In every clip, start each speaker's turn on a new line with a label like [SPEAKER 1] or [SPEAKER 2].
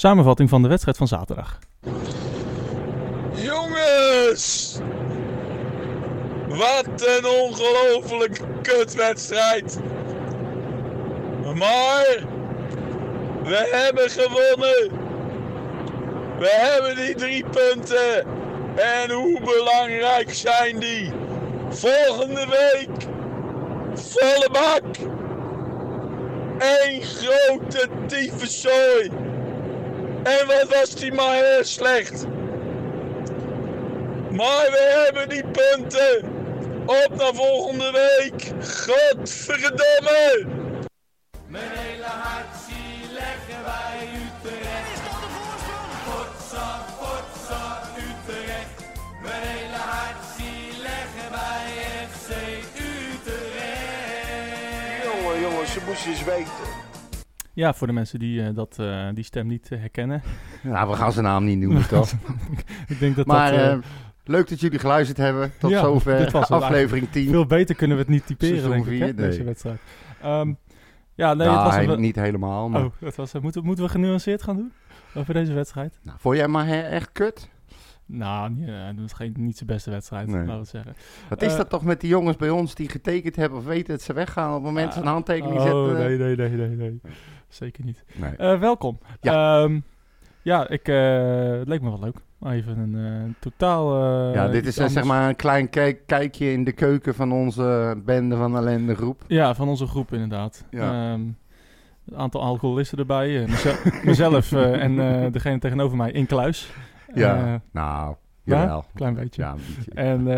[SPEAKER 1] Samenvatting van de wedstrijd van zaterdag.
[SPEAKER 2] Jongens! Wat een ongelofelijke kutwedstrijd! Maar we hebben gewonnen! We hebben die drie punten! En hoe belangrijk zijn die? Volgende week volle bak! Eén grote tyfuszooi! En wat was die maar heel slecht. Maar we hebben die punten. Op naar volgende week. Godverdomme.
[SPEAKER 3] Mijn hele hart zie leggen wij Utrecht. Is dat de voorsprong? Potsa, potsa, Utrecht. Mijn hele hart zie leggen wij FC Utrecht.
[SPEAKER 4] Jongen, jongen, ze moesten eens weten.
[SPEAKER 1] Ja, voor de mensen die, eh, dat, eh, die stem niet eh, herkennen.
[SPEAKER 5] Nou, we gaan zijn naam niet noemen, toch?
[SPEAKER 1] Ik denk dat
[SPEAKER 5] Maar
[SPEAKER 1] dat eh,
[SPEAKER 5] eh, leuk dat jullie geluisterd hebben. Tot
[SPEAKER 1] Ja, dit
[SPEAKER 5] zover
[SPEAKER 1] was het
[SPEAKER 5] aflevering 10.
[SPEAKER 1] veel beter kunnen we het niet typeren,
[SPEAKER 5] Seizoen
[SPEAKER 1] denk ik, hè,
[SPEAKER 5] vier,
[SPEAKER 1] deze
[SPEAKER 5] nee.
[SPEAKER 1] wedstrijd. Ehm, ja, nee,
[SPEAKER 5] nou,
[SPEAKER 1] het was
[SPEAKER 5] hij-
[SPEAKER 1] een...
[SPEAKER 5] niet helemaal. Maar...
[SPEAKER 1] Oh, dat was, moeten, moeten we genuanceerd gaan doen over deze wedstrijd?
[SPEAKER 5] Nou, vond jij maar he- echt kut?
[SPEAKER 1] Nou, nee, nee, dat is geen, niet zijn beste wedstrijd,
[SPEAKER 5] Nee.
[SPEAKER 1] laten we het zeggen.
[SPEAKER 5] Wat is
[SPEAKER 1] Eh,
[SPEAKER 5] dat toch met die jongens bij ons die getekend hebben of weten dat ze weggaan op het moment dat ze een handtekening
[SPEAKER 1] oh,
[SPEAKER 5] zetten? eh.
[SPEAKER 1] nee, nee, nee, nee, nee. Zeker niet.
[SPEAKER 5] Nee.
[SPEAKER 1] Eh, welkom. Ja, ja ik, eh, het leek me wel leuk. Maar Even een eh, totaal... eh,
[SPEAKER 5] ja, dit
[SPEAKER 1] iets
[SPEAKER 5] is eh, zeg
[SPEAKER 1] anders.
[SPEAKER 5] maar een klein kijk- kijkje in de keuken van onze bende van ellende groep.
[SPEAKER 1] Ja, van onze groep inderdaad.
[SPEAKER 5] Ja.
[SPEAKER 1] Ehm, een aantal alcoholisten erbij. eh, mezelf mezelf, eh, en eh, degene tegenover mij in kluis.
[SPEAKER 5] Ja.
[SPEAKER 1] Eh,
[SPEAKER 5] Nou,
[SPEAKER 1] Ja?
[SPEAKER 5] jawel.
[SPEAKER 1] klein beetje.
[SPEAKER 5] Ja, een beetje.
[SPEAKER 1] En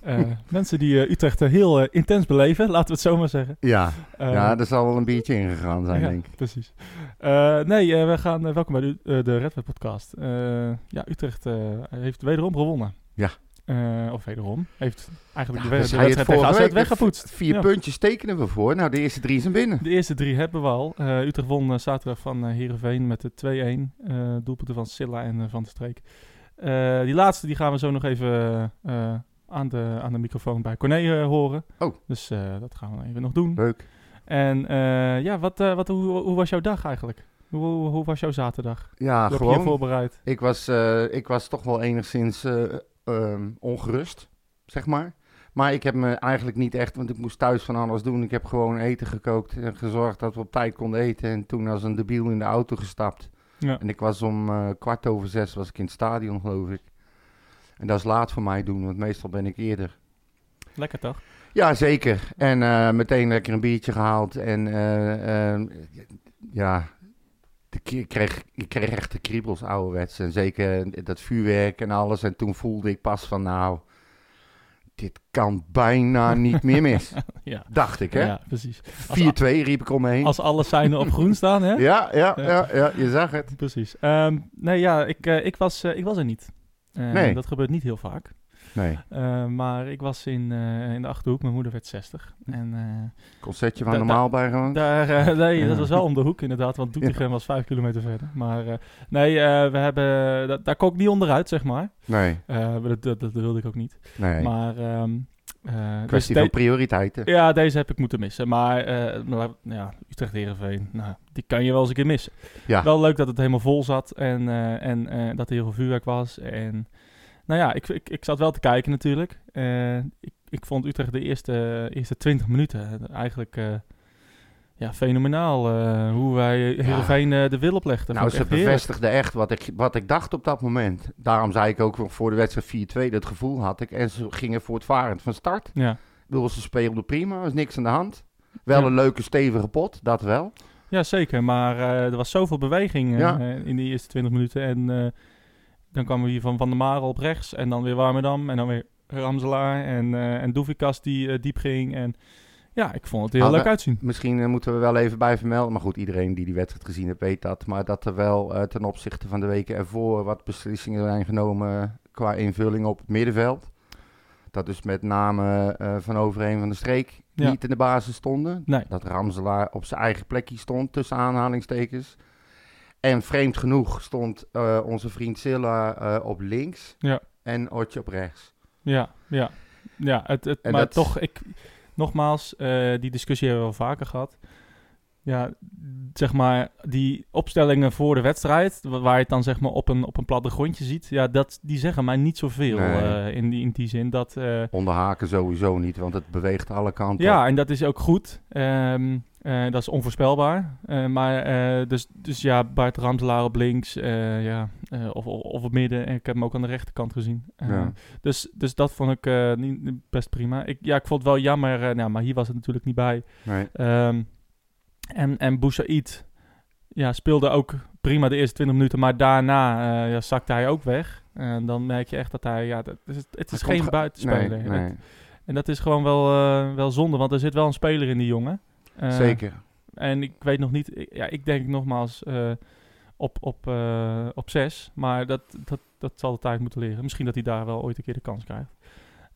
[SPEAKER 1] eh, eh, mensen die eh, Utrecht eh, heel eh, intens beleven, laten we het zo maar zeggen.
[SPEAKER 5] ja.
[SPEAKER 1] Eh,
[SPEAKER 5] ja, er zal wel een biertje ingegaan zijn,
[SPEAKER 1] ja,
[SPEAKER 5] denk ik.
[SPEAKER 1] Precies. Eh, nee, eh, we gaan, eh, welkom bij de, eh, de Red Web podcast. Eh, ja, Utrecht eh, heeft wederom gewonnen.
[SPEAKER 5] Ja.
[SPEAKER 1] Eh, of wederom. Heeft eigenlijk
[SPEAKER 5] Ja,
[SPEAKER 1] de, we-
[SPEAKER 5] we
[SPEAKER 1] de wedstrijd
[SPEAKER 5] zeiden het
[SPEAKER 1] tegen
[SPEAKER 5] vorige
[SPEAKER 1] AZ
[SPEAKER 5] week, de
[SPEAKER 1] weggepoetst.
[SPEAKER 5] Vier
[SPEAKER 1] Ja.
[SPEAKER 5] puntjes tekenen we voor. Nou, de eerste drie zijn binnen.
[SPEAKER 1] De eerste drie hebben we al. Eh, Utrecht won eh, zaterdag van eh, Heerenveen met de 2-1. eh, doelpunten van Silla en eh, Van de Streek. Eh, die laatste die gaan we zo nog even eh, aan, de, aan de microfoon bij Corné eh, horen.
[SPEAKER 5] Oh.
[SPEAKER 1] Dus eh, dat gaan we even nog doen.
[SPEAKER 5] Leuk.
[SPEAKER 1] En eh, ja, wat, eh, wat, hoe, hoe was jouw dag eigenlijk? Hoe, hoe, hoe was jouw zaterdag?
[SPEAKER 5] Ja,
[SPEAKER 1] Hoe heb je je
[SPEAKER 5] Ah, gewoon.
[SPEAKER 1] voorbereid?
[SPEAKER 5] Ik was, eh, ik was toch wel enigszins eh, ehm, ongerust, zeg maar. Maar ik heb me eigenlijk niet echt, want ik moest thuis van alles doen. Ik heb gewoon eten gekookt en gezorgd dat we op tijd konden eten. En toen als een debiel in de auto gestapt.
[SPEAKER 1] Ja.
[SPEAKER 5] En ik was om eh, kwart over zes was ik in het stadion, geloof ik. En dat is laat voor mij doen, want meestal ben ik eerder.
[SPEAKER 1] Lekker toch?
[SPEAKER 5] Ja, zeker. En eh, meteen lekker een biertje gehaald. En eh, eh, ja, ik k- kreeg, ik kreeg echt de kriebels ouderwets. En zeker eh, dat vuurwerk en alles. En toen voelde ik pas van nou, dit kan bijna niet meer mis.
[SPEAKER 1] Ja.
[SPEAKER 5] Dacht ik hè.
[SPEAKER 1] Ja, precies.
[SPEAKER 5] 4-2 riep ik omheen.
[SPEAKER 1] Als alle seinen op groen staan, hè?
[SPEAKER 5] Ja, ja,
[SPEAKER 1] Ja.
[SPEAKER 5] ja, ja, je zag het.
[SPEAKER 1] Precies. Ehm, nee, ja, ik, eh, ik, was, eh, ik was er niet. Eh,
[SPEAKER 5] Nee.
[SPEAKER 1] Dat gebeurt niet heel vaak.
[SPEAKER 5] Nee,
[SPEAKER 1] Eh, maar ik was in, eh, in de Achterhoek. Mijn moeder werd 60. En eh,
[SPEAKER 5] concertje van
[SPEAKER 1] Da- da-
[SPEAKER 5] normaal bij gewoon.
[SPEAKER 1] daar, eh, nee,
[SPEAKER 5] Hm. Ja.
[SPEAKER 1] dat was wel om de hoek inderdaad. Want Doetinchem was vijf kilometer verder. Maar eh, nee, eh, we hebben, da- daar kon ik niet onderuit, zeg maar.
[SPEAKER 5] nee,
[SPEAKER 1] Eh, maar dat, dat, dat wilde ik ook niet.
[SPEAKER 5] nee.
[SPEAKER 1] Maar... ehm eh,
[SPEAKER 5] Kwestie
[SPEAKER 1] dus
[SPEAKER 5] van
[SPEAKER 1] de-
[SPEAKER 5] prioriteiten.
[SPEAKER 1] ja, deze heb ik moeten missen. Maar eh, maar, ja, Utrecht Herenveen, nou, die kan je wel eens een keer missen.
[SPEAKER 5] Ja.
[SPEAKER 1] Wel leuk dat het helemaal vol zat en, eh, en eh, dat er heel veel vuurwerk was. En, nou ja, ik, ik, ik zat wel te kijken natuurlijk. Eh, ik, ik vond Utrecht de eerste, eerste 20 minuten eigenlijk eh, ja, fenomenaal. eh, hoe wij Herenveen de wil oplegden.
[SPEAKER 5] Nou,
[SPEAKER 1] Vond ik
[SPEAKER 5] ze
[SPEAKER 1] echt heerlijk.
[SPEAKER 5] bevestigde echt wat ik, wat ik dacht op dat moment. Daarom zei ik ook voor de wedstrijd 4-2, dat gevoel had ik. En ze gingen voortvarend van start.
[SPEAKER 1] Ja.
[SPEAKER 5] Ik bedoel, ze speelden prima, er was niks aan de hand. Wel
[SPEAKER 1] Ja.
[SPEAKER 5] een leuke stevige pot, dat wel.
[SPEAKER 1] Ja, zeker. Maar eh, er was zoveel beweging eh,
[SPEAKER 5] Ja.
[SPEAKER 1] eh, in die eerste 20 minuten. En eh, dan kwamen we hier van Van der Marel op rechts. En dan weer Warmerdam. En dan weer Ramselaar. En, eh en Doevikas die eh, diep ging. En ja, ik vond het heel
[SPEAKER 5] Ah,
[SPEAKER 1] leuk
[SPEAKER 5] we-
[SPEAKER 1] uitzien.
[SPEAKER 5] Misschien eh, moeten we wel even bij vermelden. Maar goed, iedereen die die wedstrijd gezien heeft, weet dat. Maar dat er wel eh, ten opzichte van de weken ervoor wat beslissingen zijn genomen eh, qua invulling op het middenveld. Dat dus met name eh, Van Overheen van de Streek
[SPEAKER 1] Ja.
[SPEAKER 5] niet in de basis stonden.
[SPEAKER 1] Nee.
[SPEAKER 5] Dat Ramselaar op zijn eigen plekje stond, tussen aanhalingstekens. En vreemd genoeg stond eh, onze vriend Silla eh, op links
[SPEAKER 1] Ja.
[SPEAKER 5] en Otje op rechts.
[SPEAKER 1] Ja, ja. Ja, het, het,
[SPEAKER 5] En
[SPEAKER 1] maar
[SPEAKER 5] dat-
[SPEAKER 1] toch, ik, nogmaals, eh, die discussie hebben we wel vaker gehad. ja, zeg maar, die opstellingen voor de wedstrijd, wa- waar je het dan zeg maar op een, op een platte grondje ziet, ja, dat, die zeggen mij niet zoveel
[SPEAKER 5] Nee.
[SPEAKER 1] eh, in, die, in die zin. Dat, eh,
[SPEAKER 5] Onderhaken sowieso niet, want het beweegt alle kanten.
[SPEAKER 1] ja, en dat is ook goed. Ehm, eh, dat is onvoorspelbaar. Eh, maar eh, dus, dus ja, Bart Ramselaar op links eh, ja, eh, of, of, of op midden. En ik heb hem ook aan de rechterkant gezien. Eh,
[SPEAKER 5] Ja.
[SPEAKER 1] dus, dus dat vond ik eh, niet, niet best prima. Ik, ja, ik vond het wel jammer, eh, nou, maar hier was het natuurlijk niet bij.
[SPEAKER 5] Nee.
[SPEAKER 1] Ehm, en en Boussaïd ja, speelde ook prima de eerste 20 minuten. Maar daarna eh, ja, zakte hij ook weg. En dan merk je echt dat hij... Ja, dat, het is, het is
[SPEAKER 5] Hij komt
[SPEAKER 1] geen
[SPEAKER 5] ge-
[SPEAKER 1] buitenspeler.
[SPEAKER 5] Nee,
[SPEAKER 1] Het-
[SPEAKER 5] nee,
[SPEAKER 1] en dat is gewoon wel, eh, wel zonde, want er zit wel een speler in die jongen. Eh,
[SPEAKER 5] zeker.
[SPEAKER 1] En ik weet nog niet, ik- ja, ik denk nogmaals eh, op, op, eh, op zes. Maar dat, dat, dat zal de tijd moeten leren. Misschien dat hij daar wel ooit een keer de kans krijgt.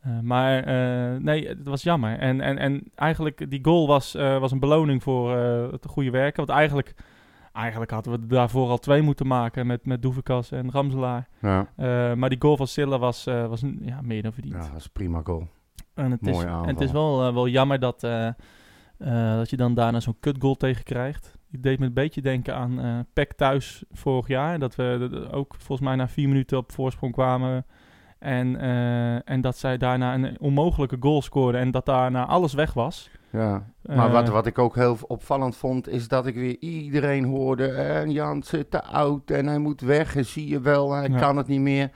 [SPEAKER 1] Eh, maar eh, nee, het was jammer. En, en, en eigenlijk, die goal was, eh, was een beloning voor eh, het goede werken. Want eigenlijk, eigenlijk hadden we daarvoor al twee moeten maken met, met Doevekas en Ramselaar.
[SPEAKER 5] Ja.
[SPEAKER 1] Eh, maar die goal van Silla was, eh, was een- ja, meer dan verdiend.
[SPEAKER 5] ja, dat is een prima goal.
[SPEAKER 1] En het,
[SPEAKER 5] Mooie
[SPEAKER 1] is, en
[SPEAKER 5] aanval.
[SPEAKER 1] het is wel, eh, wel jammer dat, eh, eh, dat je dan daarna zo'n kutgoal tegen krijgt. Het deed me een beetje denken aan eh PEC thuis vorig jaar. Dat we de- de- ook volgens mij na vier minuten op voorsprong kwamen. En, eh, en dat zij daarna een onmogelijke goal scoorden. En dat daarna alles weg was.
[SPEAKER 5] Ja, Maar
[SPEAKER 1] Eh,
[SPEAKER 5] wat, wat ik ook heel opvallend vond, is dat ik weer iedereen hoorde. En Jan zit te oud en hij moet weg. En zie je wel, hij
[SPEAKER 1] Ja.
[SPEAKER 5] kan het niet meer.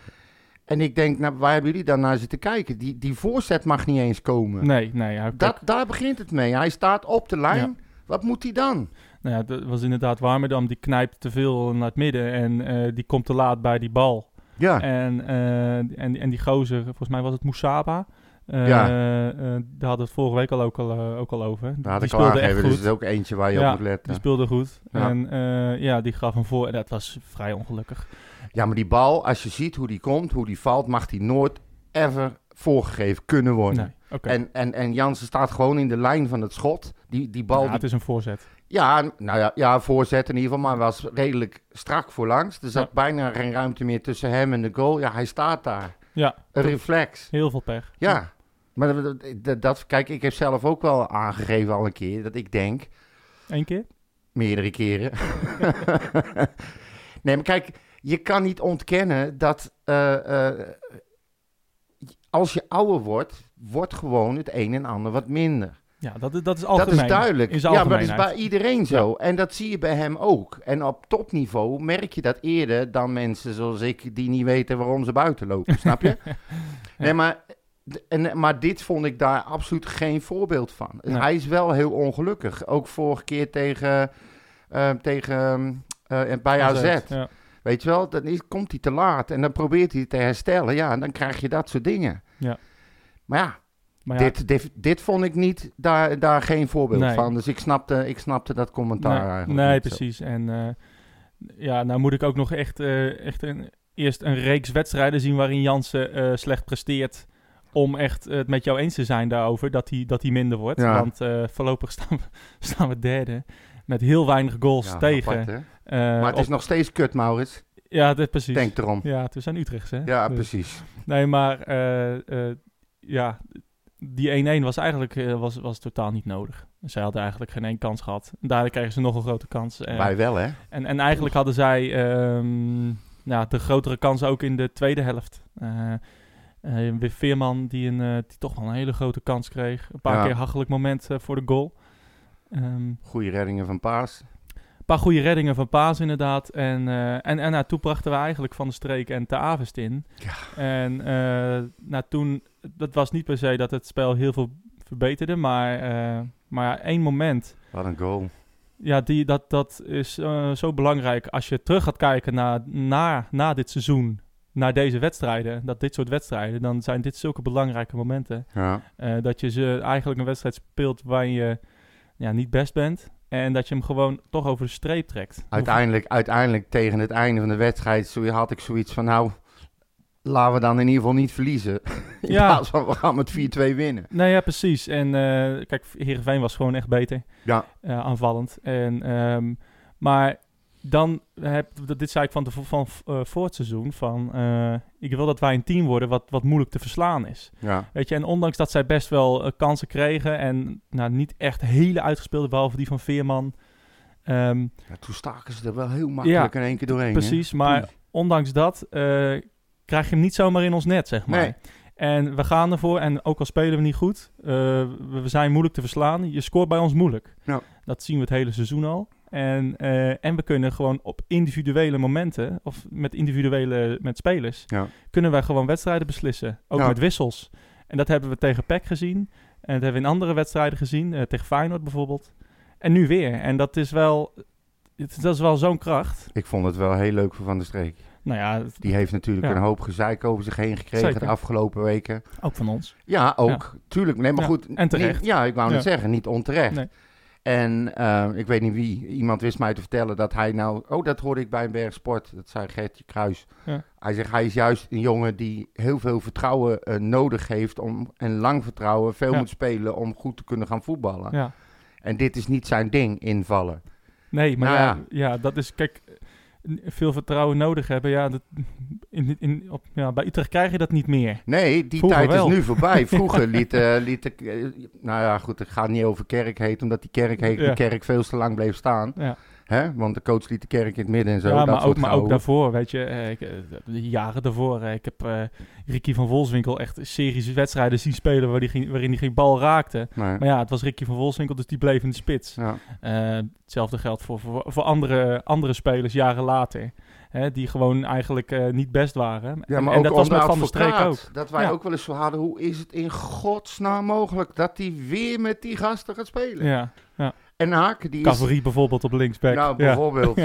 [SPEAKER 5] En ik denk, nou, waar hebben jullie dan naar zitten kijken? Die, die voorzet mag niet eens komen.
[SPEAKER 1] Nee, nee. Ja,
[SPEAKER 5] Dat, daar begint het mee. Hij staat op de lijn. Wat moet hij dan?
[SPEAKER 1] Nou ja, dat was inderdaad Warmerdam. Die knijpt te veel naar het midden. En eh, die komt te laat bij die bal.
[SPEAKER 5] Ja,
[SPEAKER 1] En, eh, en, en die gozer, volgens mij was het Moussaba. Eh,
[SPEAKER 5] Ja.
[SPEAKER 1] eh, daar hadden we het vorige week al ook al, eh, ook al over.
[SPEAKER 5] daar had
[SPEAKER 1] die
[SPEAKER 5] ik al
[SPEAKER 1] speelde echt
[SPEAKER 5] aangegeven.
[SPEAKER 1] goed.
[SPEAKER 5] Dus het is ook eentje waar je
[SPEAKER 1] Ja,
[SPEAKER 5] op moet letten.
[SPEAKER 1] Die speelde goed.
[SPEAKER 5] Ja.
[SPEAKER 1] En eh, ja, die gaf hem voor. En dat was vrij ongelukkig.
[SPEAKER 5] Ja, maar die bal, als je ziet hoe die komt, hoe die valt, mag die nooit ever voorgegeven kunnen worden.
[SPEAKER 1] Nee, oké.
[SPEAKER 5] En, en, en Jansen staat gewoon in de lijn van het schot. Die, die bal
[SPEAKER 1] Ja,
[SPEAKER 5] die
[SPEAKER 1] het is een voorzet.
[SPEAKER 5] Ja, n- nou ja, ja, voorzet in ieder geval, maar was redelijk strak voorlangs. Er zat
[SPEAKER 1] Ja.
[SPEAKER 5] bijna geen ruimte meer tussen hem en de goal. Ja, hij staat daar.
[SPEAKER 1] Ja,
[SPEAKER 5] Een reflex.
[SPEAKER 1] heel veel pech.
[SPEAKER 5] Ja. Maar dat- dat, dat, kijk, ik heb zelf ook wel aangegeven al een keer dat ik denk,
[SPEAKER 1] Eén keer?
[SPEAKER 5] meerdere keren. nee, maar kijk, je kan niet ontkennen dat eh, eh, als je ouder wordt, wordt gewoon het een en ander wat minder.
[SPEAKER 1] Ja, dat, dat is
[SPEAKER 5] Dat
[SPEAKER 1] algemeen.
[SPEAKER 5] is duidelijk.
[SPEAKER 1] In zijn
[SPEAKER 5] ja, maar dat is
[SPEAKER 1] algemeenheid.
[SPEAKER 5] bij iedereen zo. En dat zie je bij hem ook. En op topniveau merk je dat eerder dan mensen zoals ik die niet weten waarom ze buiten lopen. snap je? Nee, maar, d- en, maar dit vond ik daar absoluut geen voorbeeld van.
[SPEAKER 1] Nee.
[SPEAKER 5] Hij is wel heel ongelukkig. Ook vorige keer tegen, eh, tegen eh, eh, bij AZ.
[SPEAKER 1] Ja.
[SPEAKER 5] Weet je wel, dan is, komt hij te laat en dan probeert hij te herstellen. Ja, en dan krijg je dat soort dingen.
[SPEAKER 1] Ja.
[SPEAKER 5] Maar ja,
[SPEAKER 1] Maar ja,
[SPEAKER 5] dit, dit, dit vond ik niet daar, daar geen voorbeeld
[SPEAKER 1] Nee.
[SPEAKER 5] van. Dus ik snapte, ik snapte dat commentaar
[SPEAKER 1] nee,
[SPEAKER 5] eigenlijk.
[SPEAKER 1] nee,
[SPEAKER 5] niet zo.
[SPEAKER 1] precies. En eh, ja, nou moet ik ook nog echt, eh, echt een, eerst een reeks wedstrijden zien waarin Jansen eh, slecht presteert. Om echt eh, het met jou eens te zijn daarover dat hij, dat hij minder wordt.
[SPEAKER 5] Ja.
[SPEAKER 1] Want eh, voorlopig staan we, staan we derde. Met heel weinig goals
[SPEAKER 5] Ja,
[SPEAKER 1] tegen.
[SPEAKER 5] apart, hè?
[SPEAKER 1] Eh,
[SPEAKER 5] maar het is
[SPEAKER 1] op-
[SPEAKER 5] nog steeds kut, Maurits.
[SPEAKER 1] ja, dat, precies.
[SPEAKER 5] Denk erom. Ja,
[SPEAKER 1] Ja, het- we zijn Utrechtse. hè? Dus-
[SPEAKER 5] precies.
[SPEAKER 1] Nee, maar eh, eh, ja, die 1-1 was eigenlijk eh, was, was totaal niet nodig. Zij hadden eigenlijk geen één kans gehad. Daardoor kregen ze nog een grote kans. Eh,
[SPEAKER 5] Wij wel, hè?
[SPEAKER 1] en, en eigenlijk hadden zij ehm, ja, de grotere kansen ook in de tweede helft. Eh eh, weer Veerman die, een, eh, die toch wel een hele grote kans kreeg. Een paar
[SPEAKER 5] Ja.
[SPEAKER 1] keer hachelijk moment eh, voor de goal. Ehm,
[SPEAKER 5] Goede reddingen van Paas.
[SPEAKER 1] een paar goede reddingen van Paas inderdaad. En, eh, en, en nou, toen brachten we eigenlijk Van de Streek en Te Avest in. En eh, nou, toen, dat was niet per se dat het spel heel veel verbeterde. Maar, eh, maar ja, één moment
[SPEAKER 5] Wat een goal.
[SPEAKER 1] ja, die, dat, dat is eh, zo belangrijk als je terug gaat kijken naar, naar, na dit seizoen, naar deze wedstrijden, dat dit soort wedstrijden, dan zijn dit zulke belangrijke momenten.
[SPEAKER 5] Ja.
[SPEAKER 1] Eh, dat je ze eigenlijk een wedstrijd speelt waarin je ja, niet best bent en dat je hem gewoon toch over de streep trekt.
[SPEAKER 5] Uiteindelijk, uiteindelijk tegen het einde van de wedstrijd zo- had ik zoiets van, nou, laten we dan in ieder geval niet verliezen. In
[SPEAKER 1] Ja.
[SPEAKER 5] plaats van, we gaan met 4-2 winnen.
[SPEAKER 1] Nee, Nou ja, precies. En eh, kijk, Heerenveen was gewoon echt beter.
[SPEAKER 5] Ja.
[SPEAKER 1] eh, aanvallend. En, ehm, maar dan heb dat- dit zei ik van, de, van eh, voor het seizoen van eh, ik wil dat wij een team worden wat, wat moeilijk te verslaan is.
[SPEAKER 5] Ja.
[SPEAKER 1] Weet je, en ondanks dat zij best wel eh, kansen kregen en nou, niet echt hele uitgespeelde, behalve die van Veerman. Ehm,
[SPEAKER 5] Ja, toen staken ze er wel heel makkelijk in één keer doorheen. hè?
[SPEAKER 1] precies, maar ondanks dat eh, krijg je hem niet zomaar in ons net, zeg maar.
[SPEAKER 5] Nee,
[SPEAKER 1] En we gaan ervoor. En ook al spelen we niet goed, eh, we we zijn moeilijk te verslaan. Je scoort bij ons moeilijk.
[SPEAKER 5] Ja.
[SPEAKER 1] Dat zien we het hele seizoen al. En, eh, en we kunnen gewoon op individuele momenten, of met individuele met spelers,
[SPEAKER 5] Ja.
[SPEAKER 1] kunnen wij gewoon wedstrijden beslissen. Ook
[SPEAKER 5] Ja.
[SPEAKER 1] met wissels. En dat hebben we tegen PEC gezien. En dat hebben we in andere wedstrijden gezien. eh, tegen Feyenoord bijvoorbeeld. En nu weer. En dat is wel, het- dat is wel zo'n kracht.
[SPEAKER 5] ik vond het wel heel leuk voor Van der Streek.
[SPEAKER 1] Nou ja, het-
[SPEAKER 5] Die heeft natuurlijk
[SPEAKER 1] Ja.
[SPEAKER 5] een hoop gezeik over zich heen gekregen
[SPEAKER 1] Zeker.
[SPEAKER 5] de afgelopen weken.
[SPEAKER 1] ook van ons.
[SPEAKER 5] Ja, ook. Tuurlijk. Nee, maar
[SPEAKER 1] Ja,
[SPEAKER 5] goed.
[SPEAKER 1] en terecht.
[SPEAKER 5] niet- ja, ik wou net
[SPEAKER 1] Ja.
[SPEAKER 5] zeggen, niet onterecht.
[SPEAKER 1] Nee.
[SPEAKER 5] En eh, ik weet niet wie, iemand wist mij te vertellen dat hij nou... Oh, dat hoorde ik bij een bergsport. Dat zei Gertje Kruis.
[SPEAKER 1] Ja.
[SPEAKER 5] Hij zegt, hij is juist een jongen die heel veel vertrouwen eh, nodig heeft. Om, en lang vertrouwen, veel
[SPEAKER 1] Ja.
[SPEAKER 5] moet spelen om goed te kunnen gaan voetballen.
[SPEAKER 1] Ja.
[SPEAKER 5] En dit is niet zijn ding, invallen.
[SPEAKER 1] Nee, maar
[SPEAKER 5] Nou
[SPEAKER 1] ja, ja, dat is, kijk, n- veel vertrouwen nodig hebben. Ja, dat, in, in, op, ja, bij Utrecht krijg je dat niet meer.
[SPEAKER 5] Nee, die
[SPEAKER 1] Vroeger
[SPEAKER 5] tijd
[SPEAKER 1] wel.
[SPEAKER 5] is nu voorbij. Vroeger liet, eh, liet de... eh, nou ja, goed, ik ga niet over kerk heet, omdat die kerk, heet,
[SPEAKER 1] Ja.
[SPEAKER 5] die kerk veel te lang bleef staan.
[SPEAKER 1] Ja.
[SPEAKER 5] Hè? Want de coach liet de kerk in het midden en zo.
[SPEAKER 1] ja,
[SPEAKER 5] dat
[SPEAKER 1] maar ook,
[SPEAKER 5] soort
[SPEAKER 1] maar ook
[SPEAKER 5] gehouden.
[SPEAKER 1] daarvoor, weet je, eh, ik, eh, de jaren daarvoor. eh, ik heb eh, Ricky van Volswinkel echt series wedstrijden zien spelen waar die geen- waarin hij geen bal raakte.
[SPEAKER 5] Nee.
[SPEAKER 1] Maar ja, het was Ricky van Volswinkel, dus die bleef in de spits.
[SPEAKER 5] Ja.
[SPEAKER 1] Eh, hetzelfde geldt voor, voor, voor andere, andere spelers jaren later. Hè, die gewoon eigenlijk eh, niet best waren.
[SPEAKER 5] Ja,
[SPEAKER 1] En-
[SPEAKER 5] maar
[SPEAKER 1] en
[SPEAKER 5] ook
[SPEAKER 1] dat was
[SPEAKER 5] onder
[SPEAKER 1] met Van der Streek ook.
[SPEAKER 5] advocaat, Dat wij
[SPEAKER 1] Ja.
[SPEAKER 5] ook wel eens zo hadden, hoe is het in godsnaam mogelijk dat hij weer met die gasten gaat spelen?
[SPEAKER 1] Ja,
[SPEAKER 5] En Haken, die is...
[SPEAKER 1] Cavalerie bijvoorbeeld op linksback.
[SPEAKER 5] Nou,
[SPEAKER 1] Ja.
[SPEAKER 5] bijvoorbeeld.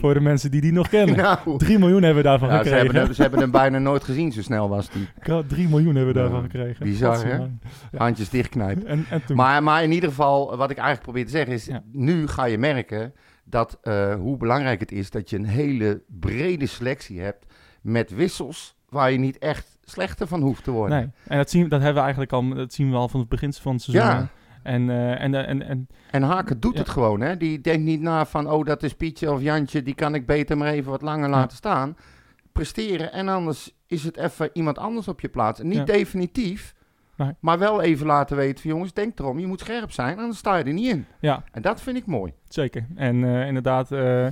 [SPEAKER 1] Voor de mensen die die nog kennen.
[SPEAKER 5] Nou,
[SPEAKER 1] 3 miljoen hebben we daarvan
[SPEAKER 5] ja, ze,
[SPEAKER 1] gekregen.
[SPEAKER 5] hebben hem, ze hebben hem bijna nooit gezien, zo snel was die.
[SPEAKER 1] God, 3 miljoen hebben we
[SPEAKER 5] Ja,
[SPEAKER 1] daarvan gekregen.
[SPEAKER 5] bizar, hè?
[SPEAKER 1] Godzijdank.
[SPEAKER 5] Handjes dichtknijpen.
[SPEAKER 1] En, en toen.
[SPEAKER 5] Maar, maar in ieder geval, eh, wat ik eigenlijk probeer te zeggen is,
[SPEAKER 1] Ja.
[SPEAKER 5] nu ga je merken dat eh, hoe belangrijk het is dat je een hele brede selectie hebt met wissels waar je niet echt slechter van hoeft te worden.
[SPEAKER 1] nee. En dat, zien, dat hebben we eigenlijk al, dat zien we al van het begin van het seizoen.
[SPEAKER 5] Ja.
[SPEAKER 1] hè? En, eh, en, en, en
[SPEAKER 5] En Haken doet
[SPEAKER 1] Ja.
[SPEAKER 5] het gewoon, hè? Die denkt niet na van, oh, dat is Pietje of Jantje, die kan ik beter maar even wat langer laten staan. Presteren en anders is het even iemand anders op je plaats. En niet
[SPEAKER 1] Ja.
[SPEAKER 5] definitief,
[SPEAKER 1] Nee.
[SPEAKER 5] maar wel even laten weten van, jongens, denk erom, je moet scherp zijn, anders sta je er niet in.
[SPEAKER 1] ja,
[SPEAKER 5] En dat vind ik mooi.
[SPEAKER 1] zeker. En eh, inderdaad, eh,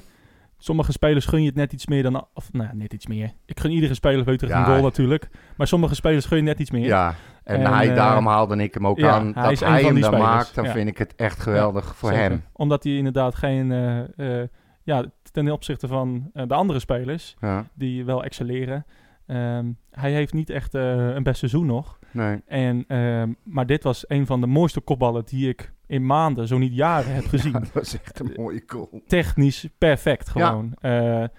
[SPEAKER 1] sommige spelers gun je het net iets meer dan. Of nou, net iets meer. Ik gun iedere speler beter
[SPEAKER 5] Ja.
[SPEAKER 1] een goal natuurlijk. Maar sommige spelers gun je net iets meer.
[SPEAKER 5] Ja, en,
[SPEAKER 1] En,
[SPEAKER 5] hij,
[SPEAKER 1] eh,
[SPEAKER 5] daarom haalde ik hem ook
[SPEAKER 1] ja,
[SPEAKER 5] aan.
[SPEAKER 1] hij
[SPEAKER 5] dat
[SPEAKER 1] is een
[SPEAKER 5] hij
[SPEAKER 1] van
[SPEAKER 5] hem
[SPEAKER 1] die
[SPEAKER 5] dan
[SPEAKER 1] spelers.
[SPEAKER 5] maakt, dan
[SPEAKER 1] Ja.
[SPEAKER 5] vind ik het echt geweldig voor
[SPEAKER 1] Zeker.
[SPEAKER 5] hem.
[SPEAKER 1] Omdat hij inderdaad geen. eh, eh, ja, ten opzichte van eh, de andere spelers.
[SPEAKER 5] Ja,
[SPEAKER 1] die wel excelleren. Ehm, hij heeft niet echt eh, een best seizoen nog.
[SPEAKER 5] nee.
[SPEAKER 1] En, ehm, maar dit was een van de mooiste kopballen die ik in maanden, zo niet jaren, heb gezien.
[SPEAKER 5] Dat was echt een mooie goal.
[SPEAKER 1] Technisch perfect gewoon. Eh,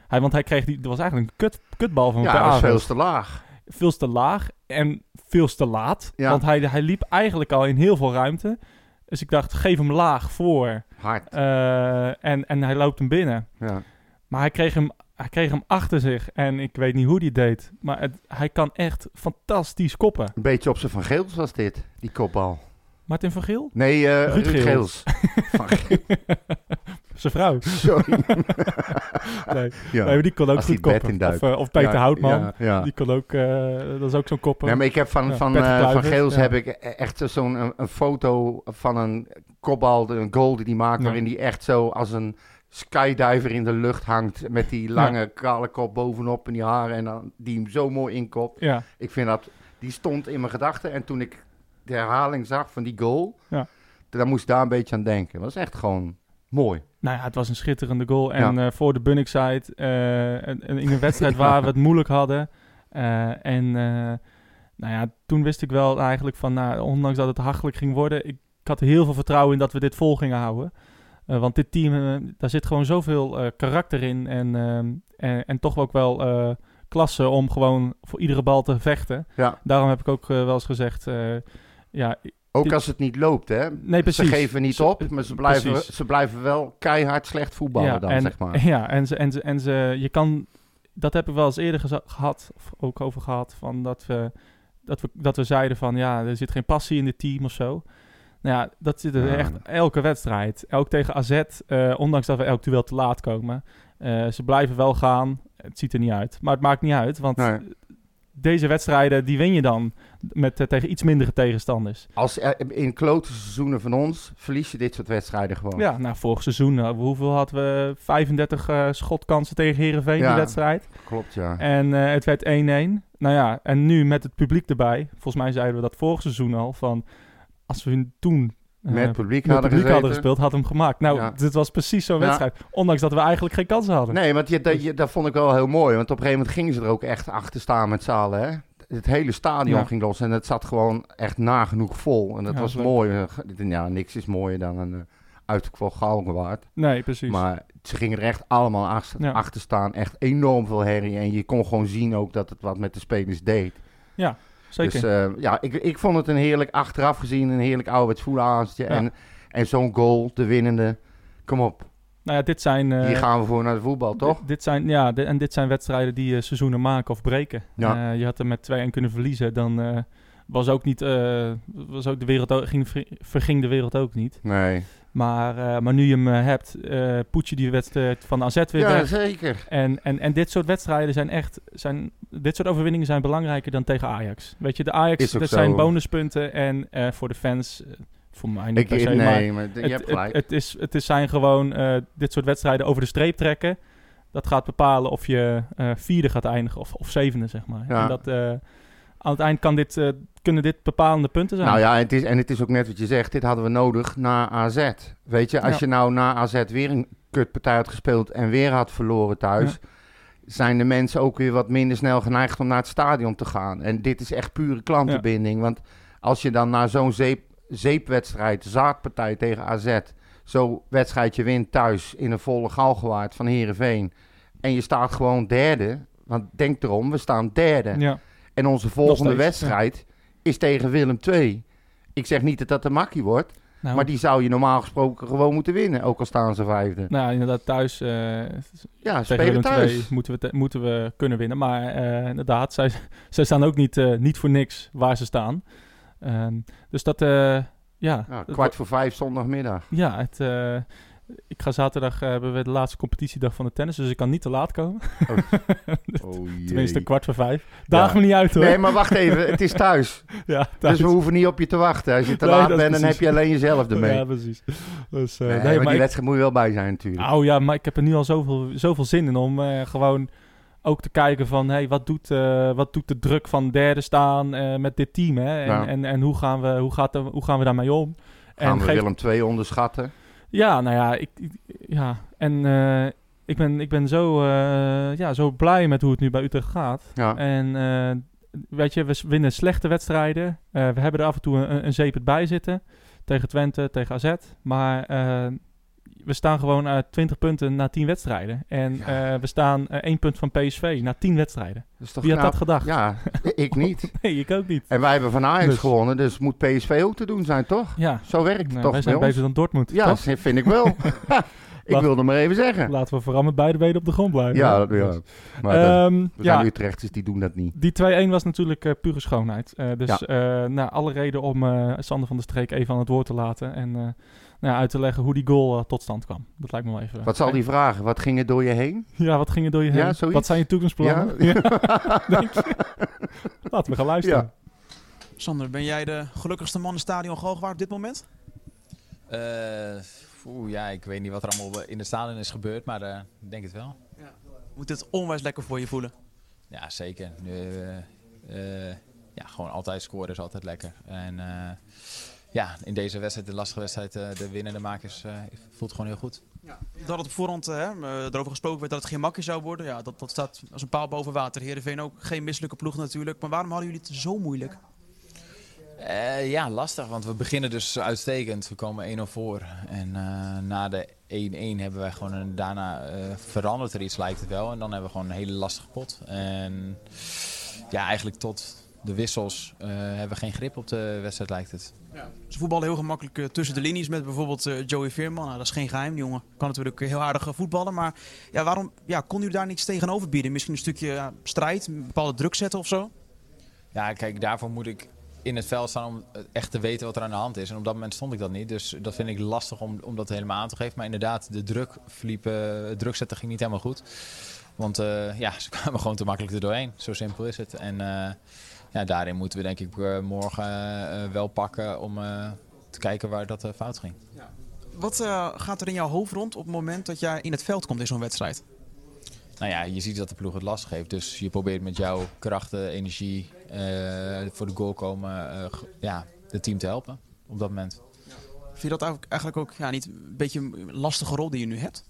[SPEAKER 1] hij, want hij kreeg die, dat was eigenlijk een kut, kutbal van
[SPEAKER 5] Ja,
[SPEAKER 1] Per
[SPEAKER 5] dat was
[SPEAKER 1] Aves.
[SPEAKER 5] veel te laag.
[SPEAKER 1] Veel te laag en veel te laat.
[SPEAKER 5] Ja.
[SPEAKER 1] Want hij, hij liep eigenlijk al in heel veel ruimte. Dus ik dacht, geef hem laag voor.
[SPEAKER 5] Hard.
[SPEAKER 1] Eh, en, en hij loopt hem binnen.
[SPEAKER 5] Ja.
[SPEAKER 1] Maar hij kreeg, hem, hij kreeg hem achter zich. En ik weet niet hoe die deed. Maar het- hij kan echt fantastisch koppen.
[SPEAKER 5] Een beetje op zijn van Geels was dit, die kopbal.
[SPEAKER 1] Martin van Geel?
[SPEAKER 5] Nee, eh
[SPEAKER 1] Ruud
[SPEAKER 5] Ruud Geels.
[SPEAKER 1] Geels.
[SPEAKER 5] Van Geels,
[SPEAKER 1] Zijn vrouw.
[SPEAKER 5] sorry.
[SPEAKER 1] Nee,
[SPEAKER 5] Ja.
[SPEAKER 1] nee, maar die kon ook
[SPEAKER 5] Als
[SPEAKER 1] goed
[SPEAKER 5] die bed
[SPEAKER 1] koppen.
[SPEAKER 5] induikt.
[SPEAKER 1] Of, eh, of Peter
[SPEAKER 5] Ja,
[SPEAKER 1] Houtman.
[SPEAKER 5] Ja, ja.
[SPEAKER 1] Die kon ook... eh, dat is ook zo'n kopper.
[SPEAKER 5] Nee, maar ik heb van,
[SPEAKER 1] Ja,
[SPEAKER 5] van,
[SPEAKER 1] Patrick
[SPEAKER 5] eh, van
[SPEAKER 1] Kluivert,
[SPEAKER 5] Geels
[SPEAKER 1] ja.
[SPEAKER 5] heb ik e- echt zo'n een, een foto van een kopbal, een goal die hij maakt,
[SPEAKER 1] Ja.
[SPEAKER 5] waarin hij echt zo als een skydiver in de lucht hangt met die lange kale kop bovenop en die haren en dan, die hem zo mooi inkopt.
[SPEAKER 1] Ja,
[SPEAKER 5] Ik vind dat, die stond in mijn gedachten en toen ik de herhaling zag van die goal,
[SPEAKER 1] Ja.
[SPEAKER 5] dan moest ik daar een beetje aan denken. Dat is echt gewoon mooi.
[SPEAKER 1] nou ja, het was een schitterende goal. En eh, voor de Bunnickside, eh, en, en in een wedstrijd waar we het moeilijk hadden. Eh, en eh, nou ja, toen wist ik wel eigenlijk van, nou, ondanks dat het hachelijk ging worden, ik, ik had heel veel vertrouwen in dat we dit vol gingen houden. Eh, want dit team, eh, daar zit gewoon zoveel eh, karakter in en, ehm, en, en toch ook wel eh, klasse om gewoon voor iedere bal te vechten.
[SPEAKER 5] Ja.
[SPEAKER 1] Daarom heb ik ook eh, wel eens gezegd, eh, ja, i-
[SPEAKER 5] Ook
[SPEAKER 1] Die-
[SPEAKER 5] als het niet loopt, hè.
[SPEAKER 1] nee precies.
[SPEAKER 5] Ze geven niet
[SPEAKER 1] Ze-
[SPEAKER 5] op, maar ze blijven,
[SPEAKER 1] precies.
[SPEAKER 5] ze blijven wel keihard slecht voetballen dan,
[SPEAKER 1] en,
[SPEAKER 5] zeg maar.
[SPEAKER 1] Ja, en ze, en ze, en ze, je kan, dat heb ik wel eens eerder geza- gehad, of ook over gehad, van dat we, dat we, dat we zeiden van, ja, er zit geen passie in dit team of zo. Nou ja, dat zit er
[SPEAKER 5] Ja.
[SPEAKER 1] echt elke wedstrijd. Ook tegen AZ, eh, ondanks dat we elk duel te laat komen. Eh, ze blijven wel gaan. Het ziet er niet uit. Maar het maakt niet uit, want
[SPEAKER 5] Nee.
[SPEAKER 1] deze wedstrijden, die win je dan met, eh, tegen iets mindere tegenstanders.
[SPEAKER 5] Als, eh, in klote seizoenen van ons verlies je dit soort wedstrijden gewoon.
[SPEAKER 1] Ja, nou, vorig seizoen, eh, hoeveel hadden we? 35 eh, schotkansen tegen Herenveen
[SPEAKER 5] Ja.
[SPEAKER 1] die wedstrijd.
[SPEAKER 5] Klopt, ja.
[SPEAKER 1] En eh, het werd 1-1. Nou ja, en nu met het publiek erbij. Volgens mij zeiden we dat vorig seizoen al. Van als we toen eh,
[SPEAKER 5] Met publiek
[SPEAKER 1] met het
[SPEAKER 5] hadden
[SPEAKER 1] publiek hadden
[SPEAKER 5] gezeten.
[SPEAKER 1] gespeeld, had hem gemaakt. Nou,
[SPEAKER 5] Ja.
[SPEAKER 1] dit was precies zo'n
[SPEAKER 5] Ja.
[SPEAKER 1] wedstrijd. Ondanks dat we eigenlijk geen kansen hadden.
[SPEAKER 5] Nee, want je, dat, je, dat vond ik wel heel mooi. Want op een gegeven moment gingen ze er ook echt achter staan met zalen. Hè? Het hele stadion
[SPEAKER 1] Ja.
[SPEAKER 5] ging los en het zat gewoon echt nagenoeg vol. En dat
[SPEAKER 1] Ja,
[SPEAKER 5] was
[SPEAKER 1] leuk.
[SPEAKER 5] mooi. Eh, ge- Ja, niks is mooier dan een eh, uitverkocht Galgenwaard.
[SPEAKER 1] Nee, precies.
[SPEAKER 5] Maar ze gingen er echt allemaal achter,
[SPEAKER 1] Ja.
[SPEAKER 5] achter staan. Echt enorm veel herrie. En je kon gewoon zien ook dat het wat met de spelers deed.
[SPEAKER 1] Zeker.
[SPEAKER 5] Dus eh, ja, ik, ik vond het een heerlijk, achteraf gezien, een heerlijk ouderwets voelaanstje.
[SPEAKER 1] Ja.
[SPEAKER 5] En, en zo'n goal, de winnende. Kom op,
[SPEAKER 1] nou ja, dit zijn... eh,
[SPEAKER 5] hier gaan we voor naar de voetbal, toch?
[SPEAKER 1] Dit, dit zijn, ja, di- en dit zijn wedstrijden die eh, seizoenen maken of breken.
[SPEAKER 5] Ja.
[SPEAKER 1] Eh, je had er met 2-1 kunnen verliezen, dan eh, was ook niet, eh, was ook de wereld ook, ging, verging de wereld ook niet.
[SPEAKER 5] Nee.
[SPEAKER 1] Maar, eh, maar nu je hem eh, hebt, eh poets je die wedstrijd van AZ weer
[SPEAKER 5] Ja,
[SPEAKER 1] weg.
[SPEAKER 5] zeker.
[SPEAKER 1] En, en, en dit soort wedstrijden zijn echt, zijn, dit soort overwinningen zijn belangrijker dan tegen Ajax. Weet je, de Ajax,
[SPEAKER 5] Is ook
[SPEAKER 1] dat
[SPEAKER 5] zo.
[SPEAKER 1] zijn bonuspunten en eh, voor de fans, eh, voor mij niet
[SPEAKER 5] Ik,
[SPEAKER 1] per se, maar
[SPEAKER 5] nee, maar, je
[SPEAKER 1] het,
[SPEAKER 5] hebt
[SPEAKER 1] het-
[SPEAKER 5] gelijk.
[SPEAKER 1] het is, het is zijn gewoon eh, dit soort wedstrijden over de streep trekken. Dat gaat bepalen of je eh, vierde gaat eindigen of, of zevende, zeg maar.
[SPEAKER 5] Ja.
[SPEAKER 1] En dat, eh, aan het eind kan dit, eh, kunnen dit bepalende punten zijn.
[SPEAKER 5] nou ja, het is, en het is ook net wat je zegt. Dit hadden we nodig na AZ. Weet je, als
[SPEAKER 1] Ja.
[SPEAKER 5] je nou na AZ weer een kutpartij had gespeeld en weer had verloren thuis... zijn de mensen ook weer wat minder snel geneigd om naar het stadion te gaan. En dit is echt pure klantenbinding. Want als je dan na zo'n zeep, zeepwedstrijd, zaakpartij tegen AZ... zo'n wedstrijdje wint thuis in een volle galgenwaard van Heerenveen... en je staat gewoon derde... want denk erom, we staan derde...
[SPEAKER 1] ja.
[SPEAKER 5] En onze volgende
[SPEAKER 1] steeds,
[SPEAKER 5] wedstrijd is tegen Willem II. Ik zeg niet dat dat de makkie wordt,
[SPEAKER 1] Nou,
[SPEAKER 5] maar die zou je normaal gesproken gewoon moeten winnen, ook al staan ze vijfde.
[SPEAKER 1] nou ja, inderdaad, thuis eh,
[SPEAKER 5] Ja,
[SPEAKER 1] tegen Willem
[SPEAKER 5] spelen
[SPEAKER 1] II
[SPEAKER 5] thuis.
[SPEAKER 1] moeten we, te- moeten we kunnen winnen. Maar eh, inderdaad, zij, zij staan ook niet, eh, niet voor niks waar ze staan. Ehm, dus dat, eh, ja,
[SPEAKER 5] Ja,
[SPEAKER 1] dat-
[SPEAKER 5] Nou, kwart voor vijf zondagmiddag.
[SPEAKER 1] Ja, het, eh, ik ga zaterdag eh, hebben we de laatste competitiedag van de tennis, dus ik kan niet te laat komen.
[SPEAKER 5] Oh. Oh,
[SPEAKER 1] Tenminste,
[SPEAKER 5] jee.
[SPEAKER 1] kwart voor vijf. Daag me niet uit hoor.
[SPEAKER 5] Nee, maar wacht even, het is thuis.
[SPEAKER 1] ja,
[SPEAKER 5] Dus
[SPEAKER 1] thuis.
[SPEAKER 5] we hoeven niet op je te wachten. Als je te
[SPEAKER 1] Nee,
[SPEAKER 5] laat
[SPEAKER 1] dat is
[SPEAKER 5] bent, dan heb
[SPEAKER 1] precies.
[SPEAKER 5] je alleen jezelf ermee.
[SPEAKER 1] Ja, precies. Dus, eh,
[SPEAKER 5] nee,
[SPEAKER 1] nee,
[SPEAKER 5] maar die
[SPEAKER 1] maar ik,
[SPEAKER 5] wedstrijd moet je wel bij zijn natuurlijk.
[SPEAKER 1] nou ja, maar ik heb er nu al zoveel, zoveel zin in om eh, gewoon ook te kijken van, hey, wat, doet, eh, wat doet de druk van derde staan eh, met dit team? Hè? En,
[SPEAKER 5] Ja.
[SPEAKER 1] en, en hoe, gaan we, hoe, gaat de, hoe gaan we daarmee om?
[SPEAKER 5] Gaan
[SPEAKER 1] en
[SPEAKER 5] we
[SPEAKER 1] geef-
[SPEAKER 5] Willem II onderschatten?
[SPEAKER 1] Ja, nou ja, ik, ik- ja. en eh, ik, ben, ik ben zo, eh, ja, zo blij met hoe het nu bij Utrecht gaat.
[SPEAKER 5] Ja,
[SPEAKER 1] En eh, weet je, we s- winnen slechte wedstrijden. Eh, we hebben er af en toe een, een zeepert bij zitten. Tegen Twente, tegen AZ. Maar eh, we staan gewoon uit 20 punten na 10 wedstrijden. En
[SPEAKER 5] Ja.
[SPEAKER 1] eh, we staan eh 1 punt van PSV na 10 wedstrijden.
[SPEAKER 5] dat is toch
[SPEAKER 1] Wie had
[SPEAKER 5] knap?
[SPEAKER 1] dat gedacht?
[SPEAKER 5] Ja, ik niet.
[SPEAKER 1] Nee, ik ook niet.
[SPEAKER 5] En wij hebben van Ajax
[SPEAKER 1] Dus.
[SPEAKER 5] gewonnen, dus moet PSV ook te doen zijn, toch?
[SPEAKER 1] Ja,
[SPEAKER 5] Zo werkt het
[SPEAKER 1] nou, wij
[SPEAKER 5] toch bij
[SPEAKER 1] zijn
[SPEAKER 5] ons?
[SPEAKER 1] beter dan Dortmund.
[SPEAKER 5] Ja,
[SPEAKER 1] toch?
[SPEAKER 5] dat vind ik wel. ik
[SPEAKER 1] Laat-
[SPEAKER 5] wilde maar even zeggen.
[SPEAKER 1] Laten we vooral met beide benen op de grond blijven.
[SPEAKER 5] Ja, dat- ja. maar dat-
[SPEAKER 1] Ehm,
[SPEAKER 5] we
[SPEAKER 1] ja,
[SPEAKER 5] zijn Utrechters, die doen dat niet.
[SPEAKER 1] Die 2-1 was natuurlijk eh, pure schoonheid. Eh, dus eh nou, alle reden om eh, Sander van der Streek even aan het woord te laten. En eh, nou, ja, uit te leggen hoe die goal eh, tot stand kwam. Dat lijkt me wel even.
[SPEAKER 5] Wat zal die vragen? Wat ging er door je heen?
[SPEAKER 1] Ja, wat ging er door je heen?
[SPEAKER 5] Ja, zoiets.
[SPEAKER 1] wat zijn je toekomstplannen?
[SPEAKER 5] Ja.
[SPEAKER 1] Denk je? Laten we gaan luisteren.
[SPEAKER 5] Ja.
[SPEAKER 6] Sander, ben jij de gelukkigste man in het stadion Galgenwaard op dit moment?
[SPEAKER 7] Eh, oeh, ja, ik weet niet wat er allemaal in de stadion is gebeurd, maar eh, ik denk het wel.
[SPEAKER 6] Moet dit onwijs lekker voor je voelen?
[SPEAKER 7] Ja, zeker. Nu, eh, eh, ja, gewoon altijd scoren is altijd lekker. En eh, ja, in deze wedstrijd, de lastige wedstrijd, eh, de winnende maken is, eh, voelt gewoon heel goed.
[SPEAKER 6] Dat het op voorhand hè, eh, erover gesproken werd dat het geen makkie zou worden, ja, dat, dat staat als een paal boven water. Heerenveen ook geen misselijke ploeg natuurlijk. Maar waarom hadden jullie het zo moeilijk?
[SPEAKER 7] Eh, ja, lastig, want we beginnen dus uitstekend. We komen 1-0 voor. En eh, na de 1-1 hebben wij gewoon een, daarna eh, verandert er iets, lijkt het wel. En dan hebben we gewoon een hele lastige pot. En ja, eigenlijk tot de wissels eh, hebben we geen grip op de wedstrijd, lijkt het.
[SPEAKER 6] Ze voetballen heel gemakkelijk eh, tussen de linies met bijvoorbeeld eh, Joey Veerman. Nou, dat is geen geheim, die jongen. Kan natuurlijk heel aardig eh, voetballen. Maar ja, waarom ja, kon u daar niets tegenover bieden? Misschien een stukje ja, strijd, een bepaalde druk zetten of zo?
[SPEAKER 7] Ja, kijk, daarvoor moet ik in het veld staan om eh, echt te weten wat er aan de hand is. En op dat moment stond ik dat niet. Dus dat vind ik lastig om, om dat helemaal aan te geven. Maar inderdaad, de druk verliep, eh, het druk zetten ging niet helemaal goed. Want eh, ja, ze kwamen gewoon te makkelijk er doorheen. Zo simpel is het. En eh, ja, daarin moeten we denk ik eh, morgen eh, wel pakken om eh, te kijken waar dat eh, fout ging.
[SPEAKER 6] Wat eh, gaat er in jouw hoofd rond op het moment dat jij in het veld komt in zo'n wedstrijd?
[SPEAKER 7] Nou ja, je ziet dat de ploeg het lastig heeft. Dus je probeert met jouw krachten, energie, eh, voor de goal komen, eh, g- ja, het team te helpen op dat moment.
[SPEAKER 6] Vind je dat eigenlijk- eigenlijk ook ja, niet een beetje een lastige rol die je nu hebt?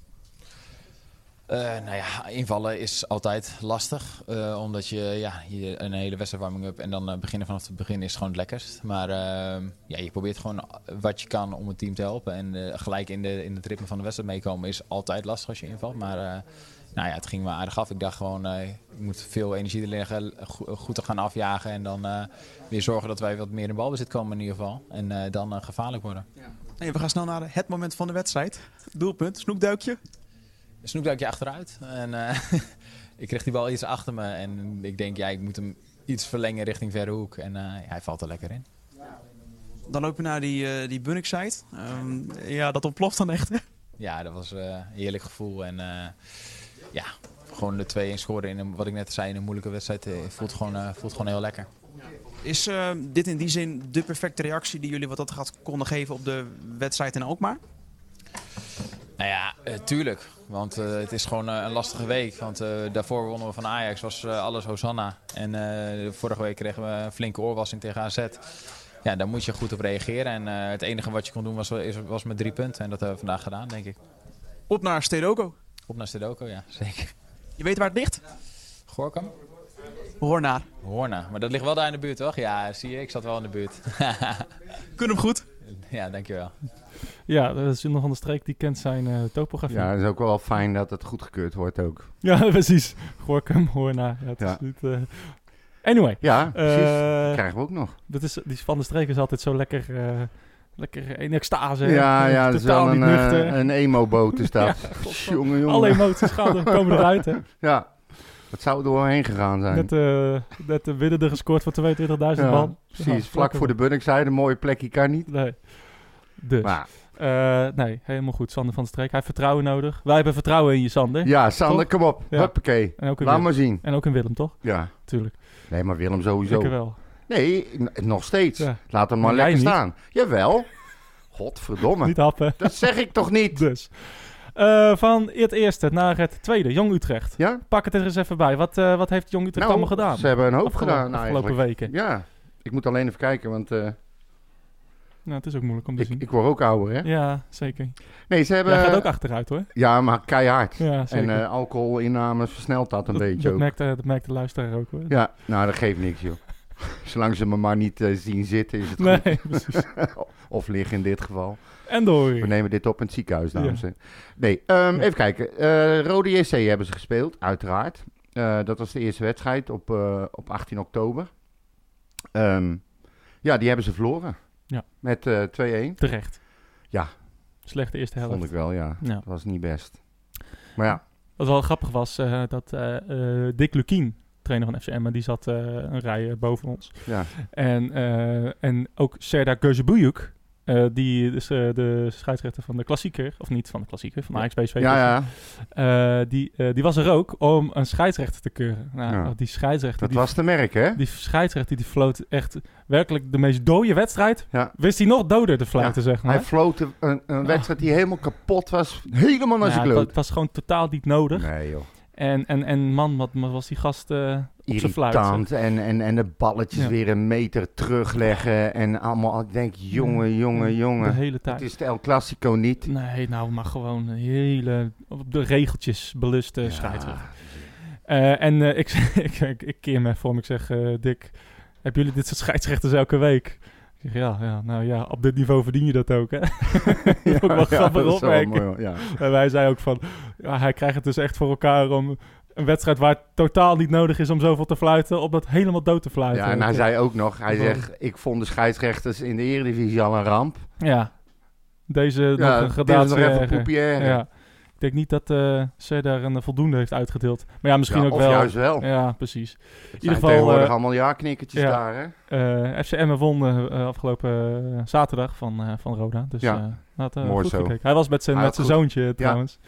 [SPEAKER 7] Eh, nou ja, invallen is altijd lastig. eh, omdat je, ja, je een hele wedstrijd warming-up en dan eh, beginnen vanaf het begin is gewoon het lekkerst. Maar eh, ja, je probeert gewoon wat je kan om het team te helpen. En eh, gelijk in, de, in het ritme van de wedstrijd meekomen is altijd lastig als je invalt. Maar eh, nou ja, het ging me aardig af. Ik dacht gewoon, eh ik moet veel energie erin leggen, go- goed te gaan afjagen. En dan eh, weer zorgen dat wij wat meer in balbezit komen in ieder geval. En eh, dan eh, gevaarlijk worden.
[SPEAKER 6] Nee, we gaan snel naar het moment van de wedstrijd. Doelpunt, snoekduikje.
[SPEAKER 7] snoekduikje achteruit. En eh, ik kreeg die bal iets achter me. En ik denk, ja, ik moet hem iets verlengen richting verre hoek. En eh, hij valt er lekker in.
[SPEAKER 6] Dan lopen we naar die, eh die Bunnik-site. Ehm, ja, dat ontploft dan echt. hè?
[SPEAKER 7] Ja, dat was eh, een heerlijk gevoel. En eh, ja, gewoon de 2-1 scoren in een, wat ik net zei, in een moeilijke wedstrijd. eh, voelt, gewoon, eh, voelt gewoon heel lekker.
[SPEAKER 6] Is eh, dit in die zin de perfecte reactie die jullie wat dat gaat konden geven op de wedstrijd in Alkmaar?
[SPEAKER 7] Nou ja, eh, tuurlijk. Want eh, het is gewoon eh, een lastige week. Want eh, daarvoor wonnen we van Ajax, was eh, alles Hosanna. En eh, vorige week kregen we een flinke oorwassing tegen AZ. Ja, daar moet je goed op reageren. En eh, het enige wat je kon doen was, eh, is- was met drie punten. En dat hebben we vandaag gedaan, denk ik.
[SPEAKER 6] Op naar Stedoco.
[SPEAKER 7] Op naar Stedoco, ja, zeker.
[SPEAKER 6] Je weet waar het ligt?
[SPEAKER 7] Gorkum?
[SPEAKER 6] Hoor naar.
[SPEAKER 7] Horna. Maar dat ligt wel daar in de buurt, toch? Ja, zie je, ik zat wel in de buurt.
[SPEAKER 6] Kunnen hem goed.
[SPEAKER 7] ja, dankjewel.
[SPEAKER 1] Ja, dat is iemand van de streek die kent zijn eh, topografie.
[SPEAKER 5] Ja,
[SPEAKER 1] Ja,
[SPEAKER 5] dat is ook wel fijn dat het goedgekeurd wordt ook.
[SPEAKER 1] precies. Gorkum, Hoorna. Ja, het
[SPEAKER 5] Ja.
[SPEAKER 1] Is niet, eh, Anyway,
[SPEAKER 5] Ja, precies.
[SPEAKER 1] eh,
[SPEAKER 5] krijgen we ook nog.
[SPEAKER 1] dat is, die van de streek is altijd zo lekker, eh, lekker in extase. hè.
[SPEAKER 5] Ja,
[SPEAKER 1] Eh,
[SPEAKER 5] ja, dat is
[SPEAKER 1] totaal
[SPEAKER 5] wel een,
[SPEAKER 1] niet nuchter.
[SPEAKER 5] eh, een emo-boot is dat. jongen, jongen.
[SPEAKER 1] Alle emoties gaan er, komen eruit, hè.
[SPEAKER 5] Ja, wat zou er doorheen gegaan zijn?
[SPEAKER 1] Net, eh net de Widden er gescoord voor 22.000
[SPEAKER 5] Ja,
[SPEAKER 1] man.
[SPEAKER 5] Precies,
[SPEAKER 1] Ja,
[SPEAKER 5] vlak voor de Bunnikzijde, een mooie plekje kan niet.
[SPEAKER 1] Nee. Dus,
[SPEAKER 5] Maar
[SPEAKER 1] eh, nee, helemaal goed. Sander van de Streek. Hij heeft vertrouwen nodig. Wij hebben vertrouwen in je, Sander.
[SPEAKER 5] ja, Sander,
[SPEAKER 1] Toch?
[SPEAKER 5] kom op.
[SPEAKER 1] Ja.
[SPEAKER 5] Huppakee.
[SPEAKER 1] En, ook in
[SPEAKER 5] Laat
[SPEAKER 1] Willem.
[SPEAKER 5] maar zien.
[SPEAKER 1] en ook in Willem, toch?
[SPEAKER 5] Ja.
[SPEAKER 1] Tuurlijk.
[SPEAKER 5] Nee, maar Willem
[SPEAKER 1] Zeker
[SPEAKER 5] sowieso.
[SPEAKER 1] wel.
[SPEAKER 5] Nee, n- nog steeds.
[SPEAKER 1] Ja.
[SPEAKER 5] Laat hem maar
[SPEAKER 1] Maar jij
[SPEAKER 5] lekker
[SPEAKER 1] niet.
[SPEAKER 5] staan. Jawel. Godverdomme.
[SPEAKER 1] Niet happen.
[SPEAKER 5] Dat zeg ik toch niet?
[SPEAKER 1] Dus. Eh, van het eerste naar het tweede, Jong Utrecht.
[SPEAKER 5] Ja?
[SPEAKER 1] Pak het er eens even bij. Wat, eh, wat heeft Jong Utrecht
[SPEAKER 5] Nou,
[SPEAKER 1] allemaal gedaan?
[SPEAKER 5] Ze hebben een hoop
[SPEAKER 1] Afgelopen-
[SPEAKER 5] gedaan
[SPEAKER 1] afgelopen
[SPEAKER 5] eigenlijk.
[SPEAKER 1] weken.
[SPEAKER 5] Ja. Ik moet alleen even kijken, want eh,
[SPEAKER 1] Nou, het is ook moeilijk om te
[SPEAKER 5] ik,
[SPEAKER 1] zien.
[SPEAKER 5] ik word ook ouder, hè?
[SPEAKER 1] Ja, zeker.
[SPEAKER 5] Nee, ze hebben...
[SPEAKER 1] Jij gaat ook achteruit, hoor.
[SPEAKER 5] Ja, maar keihard.
[SPEAKER 1] Ja, zeker.
[SPEAKER 5] En eh, alcoholinnames versnelt dat een
[SPEAKER 1] dat,
[SPEAKER 5] beetje
[SPEAKER 1] dat
[SPEAKER 5] ook.
[SPEAKER 1] merkt, eh, dat merkt de luisteraar ook, hoor.
[SPEAKER 5] Ja, nou dat geeft niks joh. Zolang ze me maar niet eh, zien zitten is het goed.
[SPEAKER 1] Nee, precies.
[SPEAKER 5] Of liggen in dit geval.
[SPEAKER 1] En door.
[SPEAKER 5] We nemen dit op in het ziekenhuis, dames
[SPEAKER 1] Ja.
[SPEAKER 5] en heren. Nee, ehm,
[SPEAKER 1] Ja.
[SPEAKER 5] even kijken. Eh, Rode JC hebben ze gespeeld, uiteraard. Eh, dat was de eerste wedstrijd op, eh, op 18 oktober. Ehm, ja, die hebben ze verloren.
[SPEAKER 1] Ja.
[SPEAKER 5] Met eh 2-1.
[SPEAKER 1] Terecht.
[SPEAKER 5] Ja.
[SPEAKER 1] Slechte eerste helft.
[SPEAKER 5] Vond ik wel, ja.
[SPEAKER 1] Ja.
[SPEAKER 5] Dat was niet best. Maar ja,
[SPEAKER 1] Wat wel grappig was, eh, dat eh, eh, Dick Lukien, trainer van FCM, die zat eh, een rij eh, boven ons.
[SPEAKER 5] ja.
[SPEAKER 1] En, eh, en ook Serda Gözebuyuk, eh, die dus eh, de scheidsrechter van de klassieker, of niet van de klassieker, van Ajax PSV.
[SPEAKER 5] ja, ja.
[SPEAKER 1] eh, die, eh, die was er ook om een scheidsrechter te keuren. Nou,
[SPEAKER 5] Ja.
[SPEAKER 1] die scheidsrechter,
[SPEAKER 5] dat
[SPEAKER 1] die,
[SPEAKER 5] was te merken, hè?
[SPEAKER 1] die scheidsrechter, die floot echt werkelijk de meest dode wedstrijd.
[SPEAKER 5] Ja.
[SPEAKER 1] Wist hij nog doder te fluiten, zeg maar.
[SPEAKER 5] Hij floot een, een wedstrijd die helemaal kapot was. Helemaal naar zijn
[SPEAKER 1] Ja,
[SPEAKER 5] kloot.
[SPEAKER 1] dat was gewoon totaal niet nodig.
[SPEAKER 5] Nee, joh.
[SPEAKER 1] En, en, en man, wat wat was die gast eh op zijn fluit. zeg.
[SPEAKER 5] irritant. En, en, en de balletjes
[SPEAKER 1] Ja.
[SPEAKER 5] weer een meter terugleggen. En allemaal, ik denk, jongen, jongen,
[SPEAKER 1] De
[SPEAKER 5] jongen.
[SPEAKER 1] hele tijd.
[SPEAKER 5] Het is de El Clasico niet.
[SPEAKER 1] Nee, nou, maar gewoon een hele... Op de regeltjes beluste
[SPEAKER 5] Ja.
[SPEAKER 1] scheidsrechter. Eh, en eh, ik, ik, ik, ik keer me voor me. Ik zeg, eh, Dick, hebben jullie dit soort scheidsrechters elke week? Ik zeg, ja, ja, nou ja, op dit niveau verdien je dat ook, hè?
[SPEAKER 5] Ja,
[SPEAKER 1] ook wel
[SPEAKER 5] ja,
[SPEAKER 1] grappig
[SPEAKER 5] dat is wel
[SPEAKER 1] opmerking.
[SPEAKER 5] mooi, hoor. Ja.
[SPEAKER 1] En wij zeiden ook van, ja, hij krijgt het dus echt voor elkaar om een wedstrijd waar het totaal niet nodig is om zoveel te fluiten, om dat helemaal dood te fluiten.
[SPEAKER 5] ja, en hij zei ook nog, hij
[SPEAKER 1] Dat wel.
[SPEAKER 5] zegt, ik vond de scheidsrechters in de Eredivisie al een ramp.
[SPEAKER 1] Ja, deze nog
[SPEAKER 5] Ja,
[SPEAKER 1] een
[SPEAKER 5] dit is nog
[SPEAKER 1] gradatie
[SPEAKER 5] even
[SPEAKER 1] erger.
[SPEAKER 5] poepie erger.
[SPEAKER 1] Ja. Ik denk niet dat eh Ser daar een voldoende heeft uitgedeeld. Maar ja, misschien
[SPEAKER 5] Ja,
[SPEAKER 1] ook
[SPEAKER 5] of
[SPEAKER 1] wel.
[SPEAKER 5] juist wel.
[SPEAKER 1] Ja, precies.
[SPEAKER 5] in
[SPEAKER 1] ieder
[SPEAKER 5] ieder
[SPEAKER 1] geval,
[SPEAKER 5] geval, tegenwoordig
[SPEAKER 1] eh,
[SPEAKER 5] allemaal ja-knikkertjes
[SPEAKER 1] ja.
[SPEAKER 5] daar, hè?
[SPEAKER 1] Eh FCM won eh, eh, afgelopen eh, zaterdag van, eh, van Roda. Dus
[SPEAKER 5] Ja.
[SPEAKER 1] eh, hij had, eh,
[SPEAKER 5] Mooi
[SPEAKER 1] goed
[SPEAKER 5] zo.
[SPEAKER 1] gekeken. Hij was met zijn,
[SPEAKER 5] Hij
[SPEAKER 1] met
[SPEAKER 5] had
[SPEAKER 1] zijn zoontje trouwens.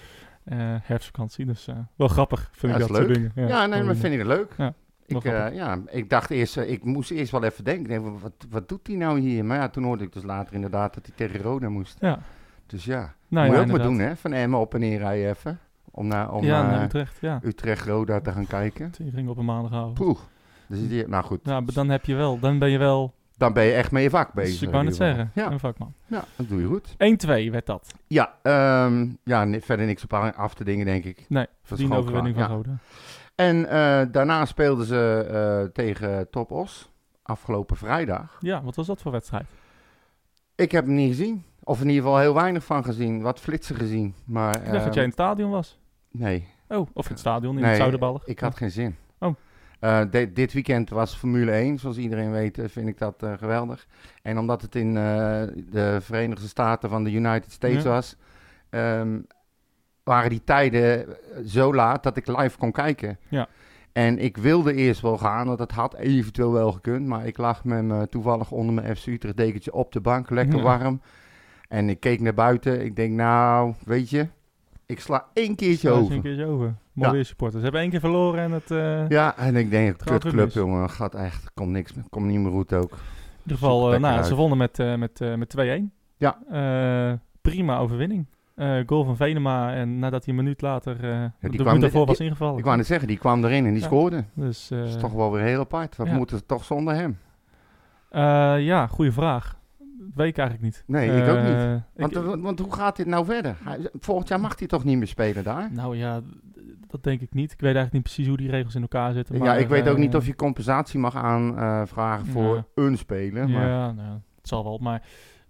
[SPEAKER 1] eh, herfstvakantie. Dus eh, wel grappig, vind
[SPEAKER 5] Ja,
[SPEAKER 1] ik
[SPEAKER 5] is
[SPEAKER 1] dat soort
[SPEAKER 5] leuk.
[SPEAKER 1] dingen.
[SPEAKER 5] Ja, nee, maar vind ik het leuk.
[SPEAKER 1] Ja,
[SPEAKER 5] ik,
[SPEAKER 1] wel
[SPEAKER 5] eh,
[SPEAKER 1] grappig.
[SPEAKER 5] ja, ik dacht eerst, eh, ik moest eerst wel even denken, ik denk, wat, wat doet hij nou hier? Maar ja, toen hoorde ik dus later inderdaad dat hij tegen Roda moest.
[SPEAKER 1] Ja.
[SPEAKER 5] Dus ja,
[SPEAKER 1] Nou, ja,
[SPEAKER 5] moet je ook maar
[SPEAKER 1] inderdaad.
[SPEAKER 5] doen hè, van Emmen op en neer rijden even. Om naar, om,
[SPEAKER 1] ja,
[SPEAKER 5] eh,
[SPEAKER 1] naar Utrecht, ja.
[SPEAKER 5] Utrecht-Roda te gaan kijken.
[SPEAKER 1] Die ging op een maandagavond.
[SPEAKER 5] Poeh. Dus die, nou goed,
[SPEAKER 1] Ja, maar dan heb je wel, dan ben je wel,
[SPEAKER 5] dan ben je echt met je vak bezig.
[SPEAKER 1] dus ik wou
[SPEAKER 5] in
[SPEAKER 1] net
[SPEAKER 5] ieder geval.
[SPEAKER 1] zeggen,
[SPEAKER 5] Ja,
[SPEAKER 1] een vakman. 1-2
[SPEAKER 5] ja, dat doe je goed.
[SPEAKER 1] werd dat.
[SPEAKER 5] Ja, ehm, ja ni- verder niks op aan- af te dingen, denk ik.
[SPEAKER 1] Nee, verdiende
[SPEAKER 5] gewoon
[SPEAKER 1] overwinning van
[SPEAKER 5] klaar,
[SPEAKER 1] Roda.
[SPEAKER 5] En eh, daarna speelden ze eh, tegen Top Os afgelopen vrijdag.
[SPEAKER 1] Ja, wat was dat voor wedstrijd?
[SPEAKER 5] Ik heb hem niet gezien. Of in ieder geval heel weinig van gezien. Wat flitsen gezien. Maar, eh,
[SPEAKER 1] Ik dacht dat jij in het stadion was.
[SPEAKER 5] Nee,
[SPEAKER 1] Oh, of in het stadion, in
[SPEAKER 5] Ehm, nee,
[SPEAKER 1] het Zuiderballig.
[SPEAKER 5] ik had geen zin.
[SPEAKER 1] Oh.
[SPEAKER 5] Eh, di- dit weekend was Formule 1, zoals iedereen weet, eh, vind ik dat eh, geweldig. En omdat het in eh, de Verenigde Staten van de United States
[SPEAKER 1] Ja.
[SPEAKER 5] was, ehm, waren die tijden eh, zo laat dat ik live kon kijken.
[SPEAKER 1] Ja.
[SPEAKER 5] En ik wilde eerst wel gaan, want dat had eventueel wel gekund. Maar ik lag met me toevallig onder mijn FC Utrecht dekentje op de bank, lekker
[SPEAKER 1] Ja.
[SPEAKER 5] warm. En ik keek naar buiten. Ik denk, nou, weet je, ik sla één keertje
[SPEAKER 1] Ja, is
[SPEAKER 5] over.
[SPEAKER 1] Een keertje over. Mooi
[SPEAKER 5] Ja.
[SPEAKER 1] weer supporters. Ze hebben één keer verloren en het... eh,
[SPEAKER 5] Ja, en ik denk,
[SPEAKER 1] gaat ook
[SPEAKER 5] kutclub
[SPEAKER 1] mis.
[SPEAKER 5] jongen, gaat echt, komt niks, meer- komt niet meer goed ook.
[SPEAKER 1] In ieder geval, eh,
[SPEAKER 5] lekker
[SPEAKER 1] nou,
[SPEAKER 5] uit.
[SPEAKER 1] ze wonnen met, eh, met, eh, met 2-1.
[SPEAKER 5] Ja.
[SPEAKER 1] Eh, prima overwinning. Eh, goal van Venema en nadat hij een minuut later eh, de
[SPEAKER 5] kwam
[SPEAKER 1] minuut
[SPEAKER 5] net-
[SPEAKER 1] daarvoor was
[SPEAKER 5] die-
[SPEAKER 1] ingevallen.
[SPEAKER 5] Ik wou net zeggen, die kwam erin en die
[SPEAKER 1] Ja.
[SPEAKER 5] scoorde.
[SPEAKER 1] Dus, eh,
[SPEAKER 5] Dat is toch wel weer heel apart. Wat
[SPEAKER 1] ja.
[SPEAKER 5] moeten ze toch zonder hem?
[SPEAKER 1] eh, ja, goede vraag. Weet ik eigenlijk niet.
[SPEAKER 5] Nee, ik ook niet.
[SPEAKER 1] Eh, ik-
[SPEAKER 5] Want, want, want hoe gaat dit nou verder? Hij- Volgend jaar mag hij toch niet meer spelen daar?
[SPEAKER 1] nou ja, d- dat denk ik niet. Ik weet eigenlijk niet precies hoe die regels in elkaar zitten.
[SPEAKER 5] ja,
[SPEAKER 1] maar,
[SPEAKER 5] ik weet ook
[SPEAKER 1] eh,
[SPEAKER 5] niet of je compensatie mag aanvragen voor
[SPEAKER 1] Ja.
[SPEAKER 5] een speler. Maar
[SPEAKER 1] Ja, nou, het zal wel. Maar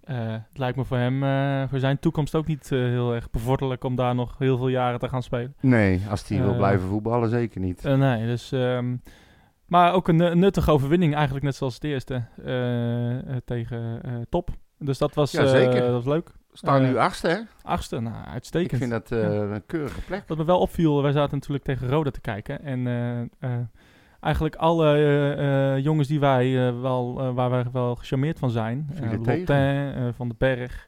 [SPEAKER 1] eh, het lijkt me voor hem, eh, voor zijn toekomst ook niet eh, heel erg bevorderlijk om daar nog heel veel jaren te gaan spelen.
[SPEAKER 5] nee, als hij wil
[SPEAKER 1] Eh,
[SPEAKER 5] blijven voetballen, zeker niet.
[SPEAKER 1] Eh, nee, dus. ehm, maar ook een nu- nuttige overwinning, eigenlijk net zoals het eerste eh, eh, tegen eh, Top. Dus dat was,
[SPEAKER 5] Ja,
[SPEAKER 1] eh,
[SPEAKER 5] zeker.
[SPEAKER 1] dat was leuk.
[SPEAKER 5] Staan
[SPEAKER 1] eh,
[SPEAKER 5] nu achtste, hè?
[SPEAKER 1] Achtste, nou,
[SPEAKER 5] Ik
[SPEAKER 1] uitstekend.
[SPEAKER 5] vind dat eh, een keurige plek.
[SPEAKER 1] Wat me wel opviel, wij zaten natuurlijk tegen Roda te kijken. En eh, eh, eigenlijk alle eh, eh, jongens die wij, eh, wel, eh, waar wij wel gecharmeerd van zijn.
[SPEAKER 5] Vielen
[SPEAKER 1] eh,
[SPEAKER 5] tegen.
[SPEAKER 1] Lotin, eh, Van den Berg.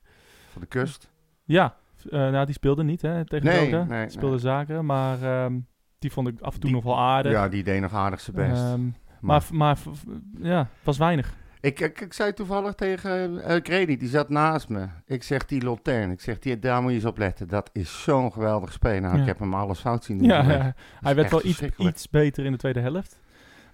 [SPEAKER 5] Van de kust.
[SPEAKER 1] Ja, eh, nou, die speelden niet hè, tegen
[SPEAKER 5] Nee,
[SPEAKER 1] Roda.
[SPEAKER 5] nee,
[SPEAKER 1] Die speelden zaken, maar ehm, die vond ik af en toe
[SPEAKER 5] Die-
[SPEAKER 1] nog wel aardig.
[SPEAKER 5] Ja, die deed nog aardig zijn best.
[SPEAKER 1] Ehm,
[SPEAKER 5] maar
[SPEAKER 1] maar v- maar v- v- ja, het was weinig.
[SPEAKER 5] Ik, ik, ik zei toevallig tegen eh Grady, die zat naast me. Ik zeg die Lotin, ik zeg die, daar moet je eens op letten. Dat is zo'n geweldig speler. Nou,
[SPEAKER 1] Ja.
[SPEAKER 5] ik heb hem alles fout zien doen.
[SPEAKER 1] Ja,
[SPEAKER 5] vandaag.
[SPEAKER 1] eh,
[SPEAKER 5] Dat is
[SPEAKER 1] hij werd
[SPEAKER 5] echt
[SPEAKER 1] wel iets,
[SPEAKER 5] verschrikkelijk.
[SPEAKER 1] iets beter in de tweede helft.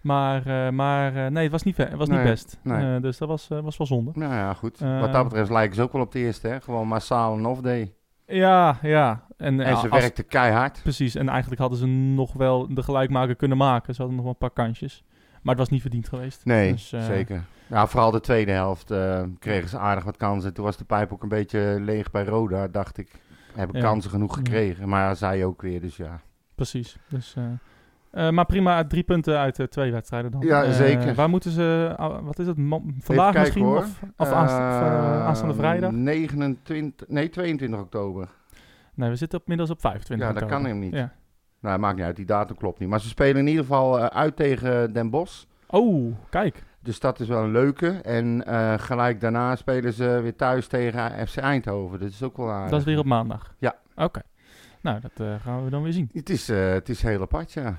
[SPEAKER 1] Maar, eh, maar eh, nee, het was niet, ver- het was niet
[SPEAKER 5] Nee,
[SPEAKER 1] best.
[SPEAKER 5] nee.
[SPEAKER 1] Eh, dus dat was, eh, was wel zonde.
[SPEAKER 5] Nou ja, goed.
[SPEAKER 1] Eh,
[SPEAKER 5] Wat dat betreft lijken ze ook wel op de eerste, hè? Gewoon massaal een off-day.
[SPEAKER 1] Ja, ja. En, eh,
[SPEAKER 5] en ze
[SPEAKER 1] als-
[SPEAKER 5] werkten keihard.
[SPEAKER 1] Precies, en eigenlijk hadden ze nog wel de gelijkmaker kunnen maken. Ze hadden nog wel een paar kansjes. Maar het was niet verdiend geweest.
[SPEAKER 5] Nee,
[SPEAKER 1] Dus, eh,
[SPEAKER 5] zeker. Ja, vooral de tweede helft eh, kregen ze aardig wat kansen. Toen was de pijp ook een beetje leeg bij Roda, dacht ik. Hebben
[SPEAKER 1] Ja.
[SPEAKER 5] kansen genoeg
[SPEAKER 1] Ja.
[SPEAKER 5] gekregen, maar zij ook weer, dus ja.
[SPEAKER 1] Precies. Dus, eh, eh, maar prima, drie punten uit eh, twee wedstrijden dan.
[SPEAKER 5] Ja,
[SPEAKER 1] Eh,
[SPEAKER 5] zeker.
[SPEAKER 1] Waar moeten ze, ah, wat is het, ma-
[SPEAKER 5] Even
[SPEAKER 1] vandaag
[SPEAKER 5] kijken,
[SPEAKER 1] misschien?
[SPEAKER 5] hoor.
[SPEAKER 1] Of, of aansta- of, eh, aanstaande
[SPEAKER 5] Eh,
[SPEAKER 1] vrijdag?
[SPEAKER 5] 29, nee, 22 oktober.
[SPEAKER 1] Nee, we zitten inmiddels op 25
[SPEAKER 5] Ja, dat
[SPEAKER 1] oktober.
[SPEAKER 5] kan hem niet.
[SPEAKER 1] Ja.
[SPEAKER 5] Nou, maakt niet uit, die datum klopt niet. Maar ze spelen in ieder geval eh, uit tegen Den Bosch.
[SPEAKER 1] Oh, kijk.
[SPEAKER 5] Dus dat is wel een leuke. En eh, gelijk daarna spelen ze weer thuis tegen FC Eindhoven. Dat is ook wel aardig.
[SPEAKER 1] Dat is weer op maandag.
[SPEAKER 5] Ja.
[SPEAKER 1] Oké. Nou, dat eh, gaan we dan weer zien.
[SPEAKER 5] Het is, eh, het is heel apart, ja.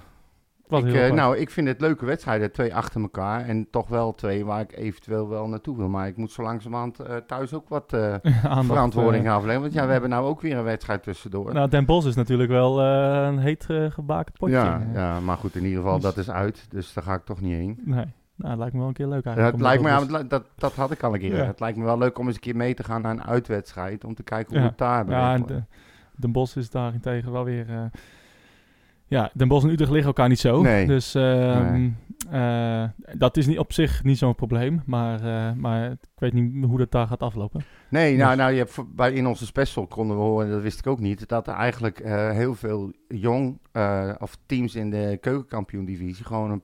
[SPEAKER 1] Wat
[SPEAKER 5] ik,
[SPEAKER 1] heel
[SPEAKER 5] eh,
[SPEAKER 1] apart.
[SPEAKER 5] nou, ik vind het leuke wedstrijden. Twee achter elkaar. En toch wel twee waar ik eventueel wel naartoe wil. Maar ik moet zo langzamerhand eh, thuis ook wat eh,
[SPEAKER 1] Aandacht,
[SPEAKER 5] verantwoording
[SPEAKER 1] eh,
[SPEAKER 5] afleggen. Want ja, we hebben nou ook weer een wedstrijd tussendoor.
[SPEAKER 1] nou, Den Bosch is natuurlijk wel eh, een heet eh, gebakend potje.
[SPEAKER 5] ja,
[SPEAKER 1] Eh,
[SPEAKER 5] ja, maar goed, in ieder geval,
[SPEAKER 1] Dus-
[SPEAKER 5] dat is uit. Dus daar ga ik toch niet heen.
[SPEAKER 1] Nee. Nou, dat lijkt me wel een keer leuk
[SPEAKER 5] Ja,
[SPEAKER 1] eigenlijk.
[SPEAKER 5] het
[SPEAKER 1] om
[SPEAKER 5] lijkt me,
[SPEAKER 1] dat dus-
[SPEAKER 5] ja,
[SPEAKER 1] ook
[SPEAKER 5] want dat, dat had ik al een keer.
[SPEAKER 1] Ja.
[SPEAKER 5] Het lijkt me wel leuk om eens een keer mee te gaan naar een uitwedstrijd. Om te kijken hoe
[SPEAKER 1] Ja.
[SPEAKER 5] het daar
[SPEAKER 1] eens- Ja, en
[SPEAKER 5] bereikt wordt.
[SPEAKER 1] de, Den Bos is daarentegen wel weer... eh, ja, Den Bos en Utrecht liggen elkaar niet zo.
[SPEAKER 5] Nee.
[SPEAKER 1] Dus ehm,
[SPEAKER 5] Nee.
[SPEAKER 1] eh, dat is niet, op zich niet zo'n probleem. Maar, eh, maar ik weet niet hoe dat daar gaat aflopen.
[SPEAKER 5] Nee, nou,
[SPEAKER 1] Dus-
[SPEAKER 5] nou je hebt, voor- bij, in onze special konden we horen, en dat wist ik ook niet, dat er eigenlijk eh, heel veel jong eh, of teams in de keukenkampioen-divisie gewoon een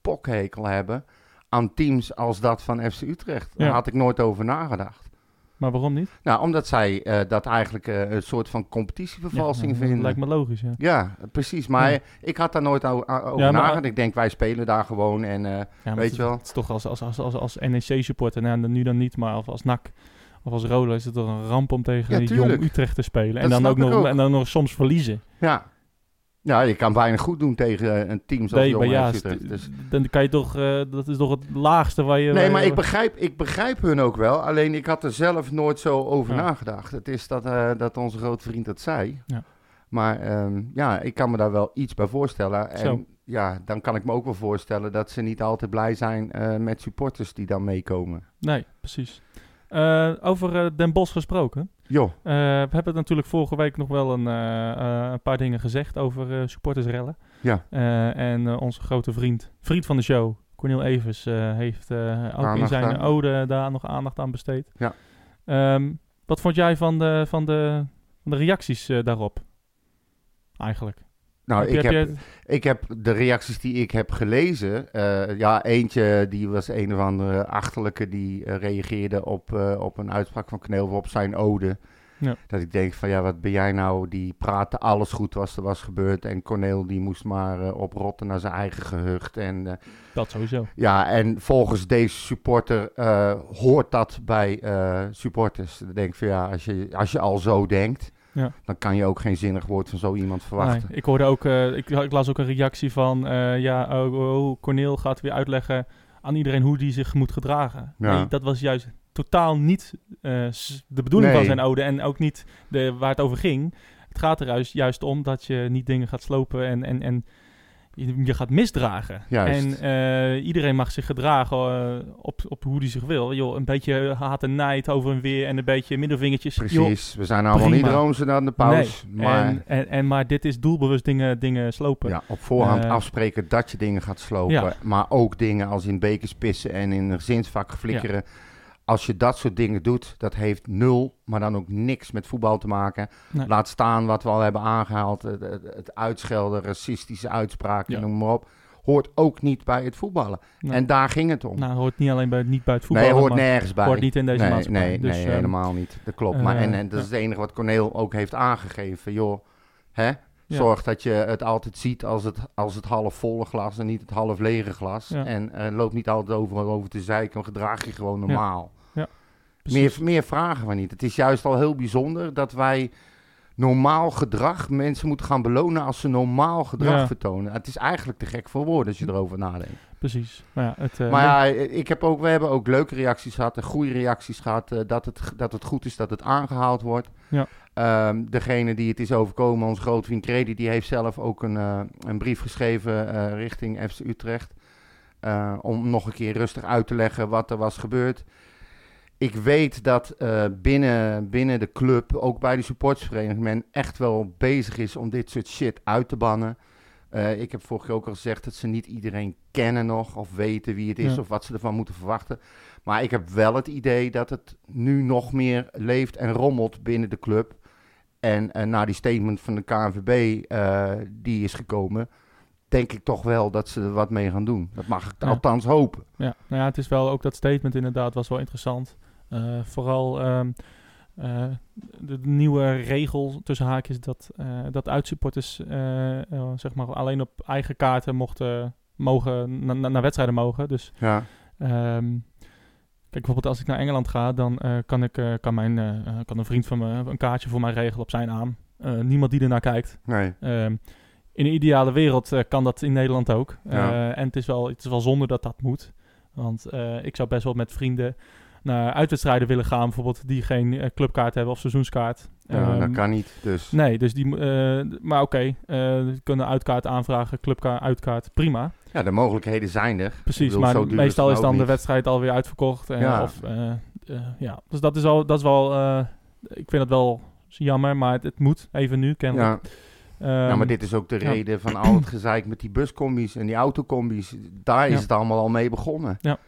[SPEAKER 5] pokhekel hebben aan teams als dat van FC Utrecht. Daar
[SPEAKER 1] Ja.
[SPEAKER 5] had ik nooit over nagedacht.
[SPEAKER 1] Maar waarom niet?
[SPEAKER 5] Nou, omdat zij eh, dat eigenlijk eh, een soort van
[SPEAKER 1] Ja,
[SPEAKER 5] competitievervalsing
[SPEAKER 1] nou,
[SPEAKER 5] vinden.
[SPEAKER 1] Lijkt me logisch, ja.
[SPEAKER 5] Ja, precies. Maar
[SPEAKER 1] Ja.
[SPEAKER 5] ik had daar nooit o- a- over
[SPEAKER 1] Ja, maar-
[SPEAKER 5] nagedacht. Ik denk, wij spelen daar gewoon en eh,
[SPEAKER 1] Ja, maar
[SPEAKER 5] Weet
[SPEAKER 1] het,
[SPEAKER 5] je wel.
[SPEAKER 1] E Het is toch als, als, als, als, als NEC-supporter, nou, dan nu dan niet, maar als, als NAC Of als Roda is het toch een ramp om tegen
[SPEAKER 5] Ja,
[SPEAKER 1] die
[SPEAKER 5] tuurlijk.
[SPEAKER 1] jong Utrecht te spelen. en,
[SPEAKER 5] Dat
[SPEAKER 1] dan
[SPEAKER 5] snap
[SPEAKER 1] ook nog,
[SPEAKER 5] ik ook.
[SPEAKER 1] en dan nog soms verliezen.
[SPEAKER 5] Ja. Ja, je kan weinig goed doen tegen eh, een team zoals
[SPEAKER 1] Nee, maar
[SPEAKER 5] Jong
[SPEAKER 1] ja,
[SPEAKER 5] FC Utrecht.
[SPEAKER 1] st-
[SPEAKER 5] Dus-
[SPEAKER 1] dan kan je toch, eh, dat is toch het laagste waar je...
[SPEAKER 5] Nee,
[SPEAKER 1] waar
[SPEAKER 5] maar
[SPEAKER 1] je-
[SPEAKER 5] ik begrijp, ik begrijp hun ook wel. Alleen ik had er zelf nooit zo over
[SPEAKER 1] Ja.
[SPEAKER 5] nagedacht. Het is dat, eh, dat onze grote vriend dat zei.
[SPEAKER 1] Ja.
[SPEAKER 5] Maar ehm, ja, ik kan me daar wel iets bij voorstellen. En
[SPEAKER 1] Zo.
[SPEAKER 5] ja, dan kan ik me ook wel voorstellen dat ze niet altijd blij zijn eh, met supporters die dan meekomen.
[SPEAKER 1] Nee, precies. Eh, over eh, Den Bos gesproken.
[SPEAKER 5] Joh,
[SPEAKER 1] Eh, we hebben natuurlijk vorige week nog wel een, eh, eh, een paar dingen gezegd over eh, supportersrellen.
[SPEAKER 5] Ja.
[SPEAKER 1] Eh, en eh, onze grote vriend, vriend van de show, Cornel Evers, eh, heeft eh, ook in
[SPEAKER 5] Aandacht
[SPEAKER 1] zijn
[SPEAKER 5] aan.
[SPEAKER 1] ode daar nog aandacht aan besteed.
[SPEAKER 5] Ja.
[SPEAKER 1] Ehm, wat vond jij van de, van de, van de reacties eh, daarop? Eigenlijk.
[SPEAKER 5] nou,
[SPEAKER 1] Heb je-
[SPEAKER 5] ik,
[SPEAKER 1] heb
[SPEAKER 5] heb,
[SPEAKER 1] je-
[SPEAKER 5] ik heb de reacties die ik heb gelezen. eh, ja, eentje die was een of andere achterlijke die eh, reageerde op, eh, op een uitspraak van Kneel op zijn ode.
[SPEAKER 1] Ja.
[SPEAKER 5] Dat ik denk van ja, wat ben jij nou? Die praatte alles goed was er was gebeurd. En Corneel die moest maar eh, oprotten naar zijn eigen gehucht. En eh,
[SPEAKER 1] dat sowieso.
[SPEAKER 5] ja, en volgens deze supporter eh, hoort dat bij eh, supporters. Dan denk ik van ja, als je, als je al zo denkt,
[SPEAKER 1] Ja.
[SPEAKER 5] dan kan je ook geen zinnig woord van zo iemand verwachten.
[SPEAKER 1] Nee, ik hoorde ook, eh, ik, ik las ook een reactie van, eh, ja, oh, oh, Cornel gaat weer uitleggen aan iedereen hoe die zich moet gedragen.
[SPEAKER 5] Ja.
[SPEAKER 1] Nee, dat was juist totaal niet eh, s- de bedoeling van
[SPEAKER 5] Nee.
[SPEAKER 1] zijn ode en ook niet de, waar het over ging. Het gaat er juist, juist om dat je niet dingen gaat slopen en, en, en je, je gaat misdragen. En
[SPEAKER 5] Juist.
[SPEAKER 1] eh, iedereen mag zich gedragen eh, op, op hoe die zich wil. Joh, een beetje haat en nijd over en weer en een beetje middelvingertjes. Joh,
[SPEAKER 5] Precies, we zijn allemaal niet
[SPEAKER 1] prima.
[SPEAKER 5] roomser dan de paus.
[SPEAKER 1] Nee.
[SPEAKER 5] Maar
[SPEAKER 1] En, en, en, maar dit is doelbewust dingen, dingen slopen.
[SPEAKER 5] ja, op voorhand
[SPEAKER 1] Eh,
[SPEAKER 5] afspreken dat je dingen gaat slopen.
[SPEAKER 1] ja.
[SPEAKER 5] Maar ook dingen als in bekers pissen en in een gezinsvak flikkeren. Als je dat soort dingen doet, dat heeft nul, maar dan ook niks met voetbal te maken.
[SPEAKER 1] Nee.
[SPEAKER 5] Laat staan wat we al hebben aangehaald. Het, het- het uitschelden, racistische uitspraken,
[SPEAKER 1] Ja.
[SPEAKER 5] noem maar op. Hoort ook niet bij het voetballen.
[SPEAKER 1] Nee.
[SPEAKER 5] En daar ging het om.
[SPEAKER 1] Nou, hoort niet alleen bij, niet bij het voetbal.
[SPEAKER 5] nee, hoort
[SPEAKER 1] maar
[SPEAKER 5] nergens bij.
[SPEAKER 1] hoort niet in deze
[SPEAKER 5] nee,
[SPEAKER 1] maatschappij.
[SPEAKER 5] Nee,
[SPEAKER 1] Dus,
[SPEAKER 5] nee
[SPEAKER 1] ehm,
[SPEAKER 5] helemaal niet. Dat klopt. maar
[SPEAKER 1] eh,
[SPEAKER 5] en, en dat is het enige wat Corneel ook heeft aangegeven. Joh, hè? zorg dat je het altijd ziet als het, als het half volle glas en niet het half lege glas.
[SPEAKER 1] Ja.
[SPEAKER 5] En eh, loop niet altijd overal over te zeiken, maar gedraag je gewoon normaal.
[SPEAKER 1] precies.
[SPEAKER 5] meer, meer vragen we niet. Het is juist al heel bijzonder dat wij normaal gedrag mensen moeten gaan belonen als ze normaal gedrag
[SPEAKER 1] Ja.
[SPEAKER 5] vertonen. Het is eigenlijk te gek voor woorden als je erover nadenkt.
[SPEAKER 1] Precies. Maar ja, het, eh,
[SPEAKER 5] Maar ja, ik heb ook, we hebben ook leuke reacties gehad en goede reacties gehad. eh, dat, het, dat het goed is dat het aangehaald wordt.
[SPEAKER 1] Ja.
[SPEAKER 5] Ehm, degene die het is overkomen, ons grootvriend Credi, die heeft zelf ook een, eh, een brief geschreven eh, richting FC Utrecht. eh, om nog een keer rustig uit te leggen wat er was gebeurd. Ik weet dat eh, binnen, binnen de club, ook bij de supportersvereniging, men echt wel bezig is om dit soort shit uit te bannen. Eh, ik heb vorige keer ook al gezegd dat ze niet iedereen kennen nog, of weten wie het is,
[SPEAKER 1] Ja.
[SPEAKER 5] of wat ze ervan moeten verwachten. Maar ik heb wel het idee dat het nu nog meer leeft en rommelt binnen de club. En eh, na die statement van de KNVB, eh, die is gekomen, denk ik toch wel dat ze er wat mee gaan doen. Dat mag ik
[SPEAKER 1] Ja.
[SPEAKER 5] althans hopen.
[SPEAKER 1] Ja, nou ja, het is wel ook dat statement inderdaad was wel interessant. Eh, vooral ehm, eh, de nieuwe regel tussen haakjes dat, eh, dat uitsupporters eh, eh, zeg maar alleen op eigen kaarten mochten mogen na- na- naar wedstrijden mogen. Dus
[SPEAKER 5] Ja,
[SPEAKER 1] ehm, kijk bijvoorbeeld als ik naar Engeland ga, dan eh, kan ik eh, kan mijn eh, eh, kan een vriend van me een kaartje voor mij regelen op zijn naam. Eh, niemand die ernaar kijkt.
[SPEAKER 5] nee.
[SPEAKER 1] Ehm, in een ideale wereld eh, kan dat in Nederland ook.
[SPEAKER 5] Ja.
[SPEAKER 1] Eh, en het is, wel, het is wel zonde dat dat moet. Want eh, ik zou best wel met vrienden naar uitwedstrijden willen gaan, bijvoorbeeld die geen eh, clubkaart hebben of seizoenskaart.
[SPEAKER 5] Ja,
[SPEAKER 1] Ehm,
[SPEAKER 5] dat kan niet. Dus
[SPEAKER 1] Nee, dus die, mo- eh, d- maar oké, eh, we kunnen uitkaart aanvragen, clubkaart, uitkaart, prima.
[SPEAKER 5] ja, de mogelijkheden zijn er.
[SPEAKER 1] Precies,
[SPEAKER 5] Ik bedoel,
[SPEAKER 1] maar
[SPEAKER 5] zo duur
[SPEAKER 1] meestal
[SPEAKER 5] het
[SPEAKER 1] is
[SPEAKER 5] ook
[SPEAKER 1] dan de
[SPEAKER 5] niet.
[SPEAKER 1] wedstrijd alweer uitverkocht. eh,
[SPEAKER 5] Ja.
[SPEAKER 1] Of, eh, eh, ja. Dus dat is, al, dat is wel, eh, ik vind dat wel jammer, maar het, het moet even nu kennelijk. Ehm,
[SPEAKER 5] Ja.
[SPEAKER 1] Ja,
[SPEAKER 5] nou, maar dit is ook de
[SPEAKER 1] ja.
[SPEAKER 5] reden van al het gezeik met die buscombi's en die autocombi's. Daar is
[SPEAKER 1] Ja.
[SPEAKER 5] het allemaal al mee begonnen.
[SPEAKER 1] Ja.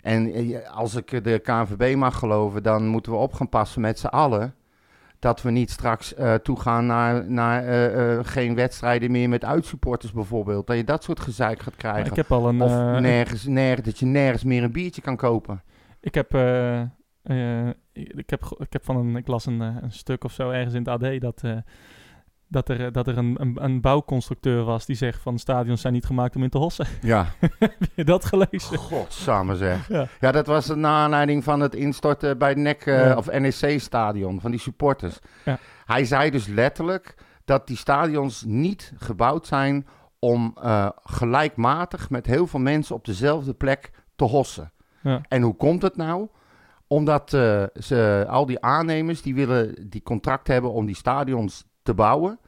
[SPEAKER 5] En eh, als ik de KNVB mag geloven, dan moeten we op gaan passen met z'n allen. Dat we niet straks eh toegaan naar, naar eh, eh, geen wedstrijden meer met uitsupporters bijvoorbeeld. Dat je dat soort gezeik gaat
[SPEAKER 1] Maar
[SPEAKER 5] krijgen.
[SPEAKER 1] ik heb al een...
[SPEAKER 5] of
[SPEAKER 1] eh,
[SPEAKER 5] nergens, nergens, dat je nergens meer een biertje kan kopen.
[SPEAKER 1] Ik heb, eh, eh, ik, ik heb, ge- ik heb van een, ik las een, eh, een stuk of zo ergens in het AD dat eh, dat er, dat er een, een, een bouwconstructeur was die zegt van stadions zijn niet gemaakt om in te hossen.
[SPEAKER 5] Ja,
[SPEAKER 1] Heb je dat gelezen?
[SPEAKER 5] godsamme zeg.
[SPEAKER 1] Ja.
[SPEAKER 5] Ja. dat was de aanleiding van het instorten bij NEC eh,
[SPEAKER 1] Ja.
[SPEAKER 5] of NEC-stadion van die supporters.
[SPEAKER 1] Ja.
[SPEAKER 5] Hij zei dus letterlijk dat die stadions niet gebouwd zijn om eh, gelijkmatig met heel veel mensen op dezelfde plek te hossen.
[SPEAKER 1] Ja.
[SPEAKER 5] En hoe komt het nou? Omdat eh, ze, al die aannemers die willen die contract hebben om die stadions te bouwen.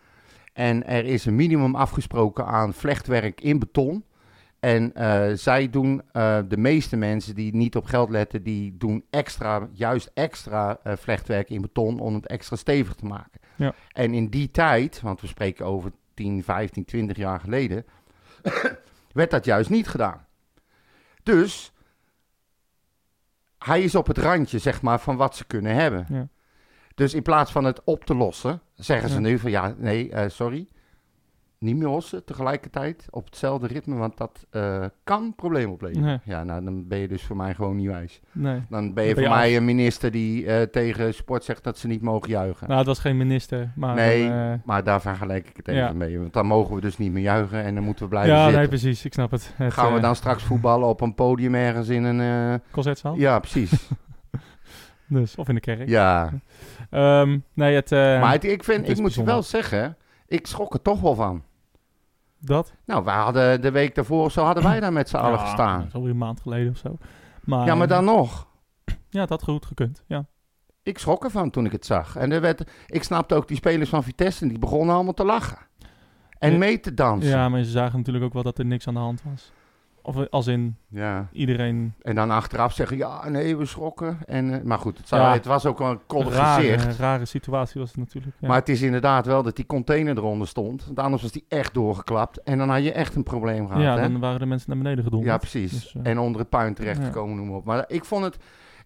[SPEAKER 5] En er is een minimum afgesproken aan vlechtwerk in beton. En eh, zij doen, eh, de meeste mensen die niet op geld letten, die doen extra, juist extra eh, vlechtwerk in beton om het extra stevig te maken.
[SPEAKER 1] Ja.
[SPEAKER 5] En in die tijd, want we spreken over 10, 15, 20 jaar geleden, werd dat juist niet gedaan. Dus hij is op het randje, zeg maar, van wat ze kunnen hebben.
[SPEAKER 1] Ja.
[SPEAKER 5] Dus in plaats van het op te lossen, zeggen ze
[SPEAKER 1] Ja.
[SPEAKER 5] nu van ja, nee, eh, sorry. Niet meer hossen tegelijkertijd op hetzelfde ritme, want dat eh, kan problemen opleveren.
[SPEAKER 1] Nee.
[SPEAKER 5] Ja, nou dan ben je dus voor mij gewoon niet wijs.
[SPEAKER 1] Nee.
[SPEAKER 5] Dan ben je
[SPEAKER 1] Dan ben je
[SPEAKER 5] voor mij
[SPEAKER 1] af.
[SPEAKER 5] een minister die eh, tegen sport zegt dat ze niet mogen juichen.
[SPEAKER 1] Nou, het was geen minister, maar...
[SPEAKER 5] nee,
[SPEAKER 1] eh,
[SPEAKER 5] maar daar vergelijk ik het even
[SPEAKER 1] ja.
[SPEAKER 5] mee. Want dan mogen we dus niet meer juichen en dan moeten we blijven
[SPEAKER 1] ja, nee,
[SPEAKER 5] zitten.
[SPEAKER 1] precies. Ik snap het. het
[SPEAKER 5] Gaan we
[SPEAKER 1] eh,
[SPEAKER 5] dan straks voetballen op een podium ergens in een... eh,
[SPEAKER 1] concertzaal?
[SPEAKER 5] Ja, precies.
[SPEAKER 1] Dus, of in de kerk.
[SPEAKER 5] ja.
[SPEAKER 1] Ehm, nee, het... eh,
[SPEAKER 5] Maar het- ik, vind,
[SPEAKER 1] het
[SPEAKER 5] ik
[SPEAKER 1] is
[SPEAKER 5] moet
[SPEAKER 1] bijzonder.
[SPEAKER 5] wel zeggen, ik schrok er toch wel van.
[SPEAKER 1] dat...
[SPEAKER 5] Nou, we hadden de week daarvoor of zo hadden wij daar met z'n allen gestaan.
[SPEAKER 1] Zo een maand geleden of zo. Maar,
[SPEAKER 5] Ja, maar dan nog.
[SPEAKER 1] Ja, het had goed gekund, ja.
[SPEAKER 5] Ik schrok ervan toen ik het zag. En er werd, ik snapte ook die spelers van Vitesse, die begonnen allemaal te lachen. En
[SPEAKER 1] Ja.
[SPEAKER 5] mee te dansen. Ja.
[SPEAKER 1] Ja, maar ze zagen natuurlijk ook wel dat er niks aan de hand was. Of eh, als in iedereen
[SPEAKER 5] En dan achteraf zeggen, ja, nee, we schrokken. En, eh, maar goed, het, zou-
[SPEAKER 1] Ja.
[SPEAKER 5] het was ook wel een
[SPEAKER 1] een
[SPEAKER 5] koddig
[SPEAKER 1] rare,
[SPEAKER 5] gezicht.
[SPEAKER 1] rare situatie was het natuurlijk. Ja.
[SPEAKER 5] Maar het is inderdaad wel dat die container eronder stond. Want anders was die echt doorgeklapt. En dan had je echt een probleem gehad.
[SPEAKER 1] ja,
[SPEAKER 5] hè?
[SPEAKER 1] dan waren de mensen naar beneden gedonderd.
[SPEAKER 5] ja precies.
[SPEAKER 1] Dus, eh,
[SPEAKER 5] En onder het puin terecht
[SPEAKER 1] ja.
[SPEAKER 5] gekomen, noem maar op. Maar ik vond het,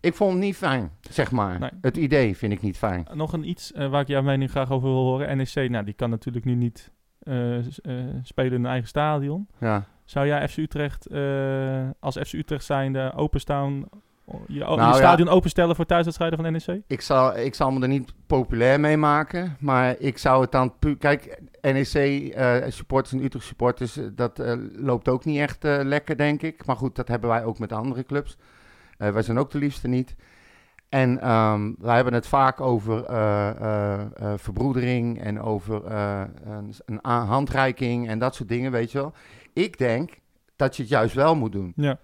[SPEAKER 5] ik vond het niet fijn, zeg maar.
[SPEAKER 1] Nee.
[SPEAKER 5] Het idee vind ik niet fijn.
[SPEAKER 1] Nog een iets eh, waar ik jouw mening graag over wil horen. NEC, nou, die kan natuurlijk nu niet eh, s- eh, spelen in hun eigen stadion.
[SPEAKER 5] Ja.
[SPEAKER 1] Zou jij FC Utrecht, eh, als FC Utrecht zijnde, openstaan, je,
[SPEAKER 5] Nou ja.
[SPEAKER 1] je stadion openstellen voor thuiswedstrijden van E NEC?
[SPEAKER 5] ik zal, ik zal me er niet populair mee maken, maar ik zou het dan... pu- Kijk, E NEC-supporters eh, en Utrecht-supporters, eh, dat eh, loopt ook niet echt eh, lekker, denk ik. Maar goed, dat hebben wij ook met andere clubs. Eh, wij zijn ook de liefste niet. En ehm, wij hebben het vaak over eh, eh, eh, verbroedering en over eh, een, een a- handreiking en dat soort dingen, weet je wel. Ik denk dat je het juist wel moet doen.
[SPEAKER 1] Ja.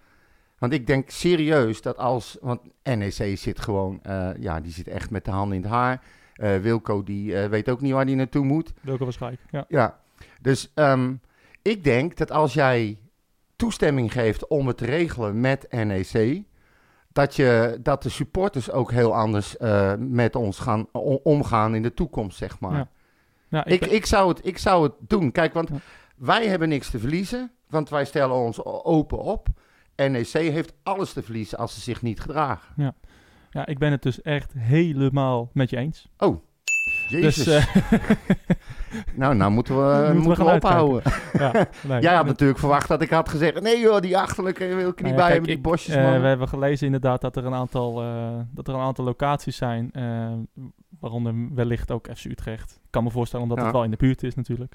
[SPEAKER 5] Want ik denk serieus dat als. Want NEC zit gewoon. eh, ja, die zit echt met de handen in het haar. Eh, Wilco, die eh, weet ook niet waar die naartoe moet.
[SPEAKER 1] Welke waarschijnlijk? Ja.
[SPEAKER 5] Ja. Dus ehm, ik denk dat als jij toestemming geeft om het te regelen met NEC. Dat, je, dat de supporters ook heel anders eh, met ons gaan o- omgaan in de toekomst, zeg maar.
[SPEAKER 1] Ja. Ja,
[SPEAKER 5] Ik,
[SPEAKER 1] Nou, ben-
[SPEAKER 5] ik, zou het, ik zou het doen. Kijk, want
[SPEAKER 1] Ja.
[SPEAKER 5] wij hebben niks te verliezen. Want wij stellen ons o- open op. NEC heeft alles te verliezen als ze zich niet gedragen.
[SPEAKER 1] ja, ik ben het dus echt helemaal met je eens.
[SPEAKER 5] Jezus.
[SPEAKER 1] Dus, eh,
[SPEAKER 5] nou, nou moeten we,
[SPEAKER 1] moeten we
[SPEAKER 5] moeten we,
[SPEAKER 1] gaan
[SPEAKER 5] ophouden.
[SPEAKER 1] ja, nee.
[SPEAKER 5] Jij had
[SPEAKER 1] En-
[SPEAKER 5] natuurlijk verwacht dat ik had gezegd... Nee joh, die achterlijke eh, wil ik er
[SPEAKER 1] Nou ja,
[SPEAKER 5] niet bij
[SPEAKER 1] kijk,
[SPEAKER 5] hebben. Die
[SPEAKER 1] ik-
[SPEAKER 5] bosjes,
[SPEAKER 1] eh,
[SPEAKER 5] man.
[SPEAKER 1] we hebben gelezen inderdaad dat er een aantal, eh, dat er een aantal locaties zijn, eh, waaronder wellicht ook FC Utrecht. Ik kan me voorstellen omdat
[SPEAKER 5] Ja.
[SPEAKER 1] het wel in de buurt is natuurlijk.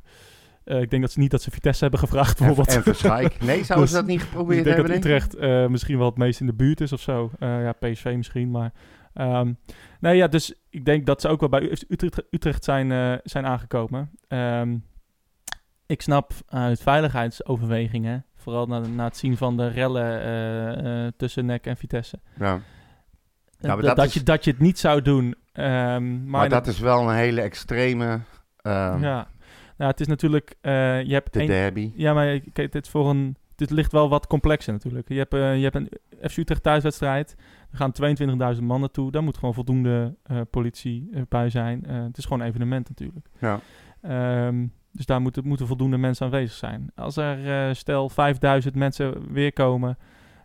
[SPEAKER 1] Eh, ik denk dat ze niet dat ze Vitesse hebben gevraagd
[SPEAKER 5] en,
[SPEAKER 1] bijvoorbeeld.
[SPEAKER 5] en Verschijk. Nee, zouden ze
[SPEAKER 1] Dus-
[SPEAKER 5] dat niet
[SPEAKER 1] ik
[SPEAKER 5] geprobeerd
[SPEAKER 1] denk dat
[SPEAKER 5] hebben? denk
[SPEAKER 1] Utrecht eh, misschien wel het meest in de buurt is of zo. Eh, ja, PSV misschien, maar... ehm, nee, ja, dus ik denk dat ze ook wel bij U- Utrecht, Utrecht zijn, eh, zijn aangekomen. Ehm, ik snap uit veiligheidsoverwegingen, vooral na, na het zien van de rellen eh, eh, tussen NEC en Vitesse,
[SPEAKER 5] je? Ja.
[SPEAKER 1] eh,
[SPEAKER 5] Ja, maar
[SPEAKER 1] dat,
[SPEAKER 5] dat
[SPEAKER 1] dat je,
[SPEAKER 5] is-
[SPEAKER 1] dat je het niet zou doen. Ehm, maar
[SPEAKER 5] Maar dat is wel een hele extreme... ehm,
[SPEAKER 1] Ja, nou, het is natuurlijk... eh, je hebt
[SPEAKER 5] De
[SPEAKER 1] één-
[SPEAKER 5] derby.
[SPEAKER 1] Ja, maar kijk, dit, is voor een, dit ligt wel wat complexer natuurlijk. Je hebt, eh, je hebt een FC Utrecht thuiswedstrijd. Er gaan 22.000 man naartoe. Daar moet gewoon voldoende eh, politie eh, bij zijn. Eh, het is gewoon een evenement natuurlijk.
[SPEAKER 5] Ja.
[SPEAKER 1] Ehm, dus daar moeten, moeten voldoende mensen aanwezig zijn. Als er eh, stel 5000 mensen weer komen,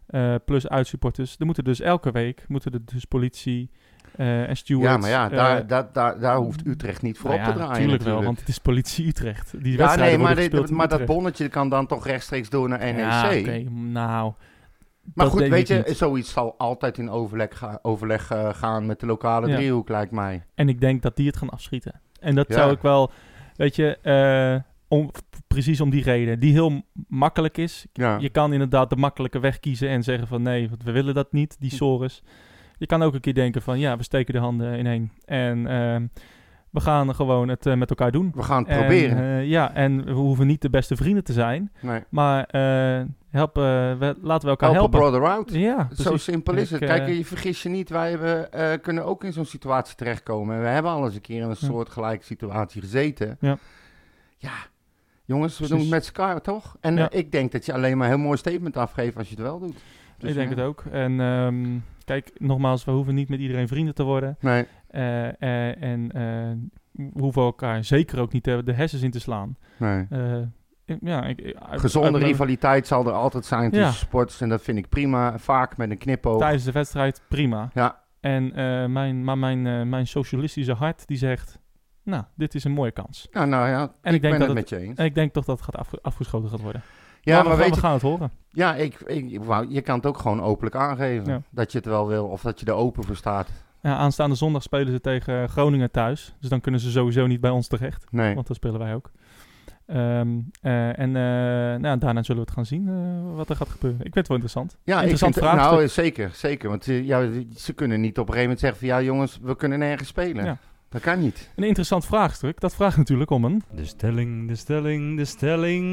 [SPEAKER 1] eh, plus uitsupporters, dan moeten dus elke week moeten er dus politie eh, en stewards...
[SPEAKER 5] Ja, maar ja,
[SPEAKER 1] eh,
[SPEAKER 5] daar, daar, daar, daar hoeft Utrecht niet voor
[SPEAKER 1] nou
[SPEAKER 5] op
[SPEAKER 1] ja,
[SPEAKER 5] te draaien
[SPEAKER 1] Tuurlijk
[SPEAKER 5] natuurlijk.
[SPEAKER 1] wel, want het is politie Utrecht. Die
[SPEAKER 5] Ja, nee,
[SPEAKER 1] wedstrijden
[SPEAKER 5] maar,
[SPEAKER 1] worden
[SPEAKER 5] dit-
[SPEAKER 1] gespeeld in
[SPEAKER 5] maar dat
[SPEAKER 1] Utrecht.
[SPEAKER 5] bonnetje kan dan toch rechtstreeks door naar NEC.
[SPEAKER 1] Ja, oké, nou...
[SPEAKER 5] E Maar
[SPEAKER 1] dat
[SPEAKER 5] goed,
[SPEAKER 1] denk
[SPEAKER 5] weet
[SPEAKER 1] ik
[SPEAKER 5] je,
[SPEAKER 1] niet.
[SPEAKER 5] zoiets zal altijd in overleg, ga- overleg eh, gaan met de lokale
[SPEAKER 1] Ja.
[SPEAKER 5] driehoek, lijkt mij.
[SPEAKER 1] En ik denk dat die het gaan afschieten. En dat
[SPEAKER 5] Ja.
[SPEAKER 1] zou ik wel. Weet je, eh, om, precies om die reden. Die heel m- makkelijk is.
[SPEAKER 5] Ja.
[SPEAKER 1] Je kan inderdaad de makkelijke weg kiezen en zeggen van nee, want we willen dat niet,
[SPEAKER 5] Hm.
[SPEAKER 1] die sores. Je kan ook een keer denken van ja, we steken de handen ineen. En ehm, we gaan gewoon het eh, met elkaar doen.
[SPEAKER 5] We gaan het proberen.
[SPEAKER 1] En, eh, ja, en we hoeven niet de beste vrienden te zijn.
[SPEAKER 5] nee.
[SPEAKER 1] Maar eh, help, eh, we, laten we elkaar
[SPEAKER 5] Help
[SPEAKER 1] helpen.
[SPEAKER 5] a brother out.
[SPEAKER 1] Ja,
[SPEAKER 5] Zo
[SPEAKER 1] precies.
[SPEAKER 5] simpel is
[SPEAKER 1] Ik,
[SPEAKER 5] het. Kijk,
[SPEAKER 1] eh,
[SPEAKER 5] je vergis je niet. Wij hebben, eh, kunnen ook in zo'n situatie terechtkomen. En we hebben al eens een keer in een
[SPEAKER 1] Ja.
[SPEAKER 5] soort gelijke situatie gezeten.
[SPEAKER 1] Ja.
[SPEAKER 5] Ja. Jongens, we
[SPEAKER 1] Precies.
[SPEAKER 5] doen het met elkaar, toch? En
[SPEAKER 1] Ja.
[SPEAKER 5] eh, ik denk dat je alleen maar een heel mooi statement afgeeft als je het wel doet. Dus,
[SPEAKER 1] ik denk het ook. En ehm, kijk, nogmaals, we hoeven niet met iedereen vrienden te worden.
[SPEAKER 5] Nee,
[SPEAKER 1] Eh, eh, en eh, we hoeven elkaar zeker ook niet eh, de hersens in te slaan.
[SPEAKER 5] nee.
[SPEAKER 1] Eh, ik- ja, ik, ik- uit- uit
[SPEAKER 5] Gezonde
[SPEAKER 1] mijn-
[SPEAKER 5] rivaliteit zal er altijd zijn tussen
[SPEAKER 1] Ja.
[SPEAKER 5] sports. En dat vind ik prima. Vaak met een knipoog.
[SPEAKER 1] Tijdens de wedstrijd, prima.
[SPEAKER 5] Ja.
[SPEAKER 1] En, eh, mijn, maar mijn, eh, mijn socialistische hart die zegt, nou, dit is een mooie kans.
[SPEAKER 5] Nou, nou
[SPEAKER 1] En
[SPEAKER 5] ja,
[SPEAKER 1] ik
[SPEAKER 5] ik ben
[SPEAKER 1] denk, dat
[SPEAKER 5] het
[SPEAKER 1] het,
[SPEAKER 5] met je eens.
[SPEAKER 1] en ik denk toch dat het gaat afge- afgeschoten gaat worden.
[SPEAKER 5] Ja,
[SPEAKER 1] Maar
[SPEAKER 5] maar,
[SPEAKER 1] we, gaan-
[SPEAKER 5] weet
[SPEAKER 1] we
[SPEAKER 5] je,
[SPEAKER 1] gaan het horen.
[SPEAKER 5] ja, ik, ik, wou- je kan het ook gewoon openlijk aangeven.
[SPEAKER 1] Ja.
[SPEAKER 5] Dat je het wel wil of dat je er open voor staat.
[SPEAKER 1] Ja, aanstaande zondag spelen ze tegen Groningen thuis. Dus dan kunnen ze sowieso niet bij ons terecht.
[SPEAKER 5] Nee.
[SPEAKER 1] Want dat spelen wij ook. Ehm, eh, en eh, nou, daarna zullen we het gaan zien eh, wat er gaat gebeuren. Ik vind het wel interessant.
[SPEAKER 5] Ja, ik
[SPEAKER 1] Interessant
[SPEAKER 5] vind, het-
[SPEAKER 1] vraagstuk.
[SPEAKER 5] nou, zeker, zeker. Want eh, ja, ze kunnen niet op een gegeven moment zeggen van... ja, jongens, we kunnen nergens spelen.
[SPEAKER 1] Ja.
[SPEAKER 5] Dat kan niet.
[SPEAKER 1] Een interessant vraagstuk. Dat vraagt natuurlijk om een...
[SPEAKER 8] De stelling, de stelling, de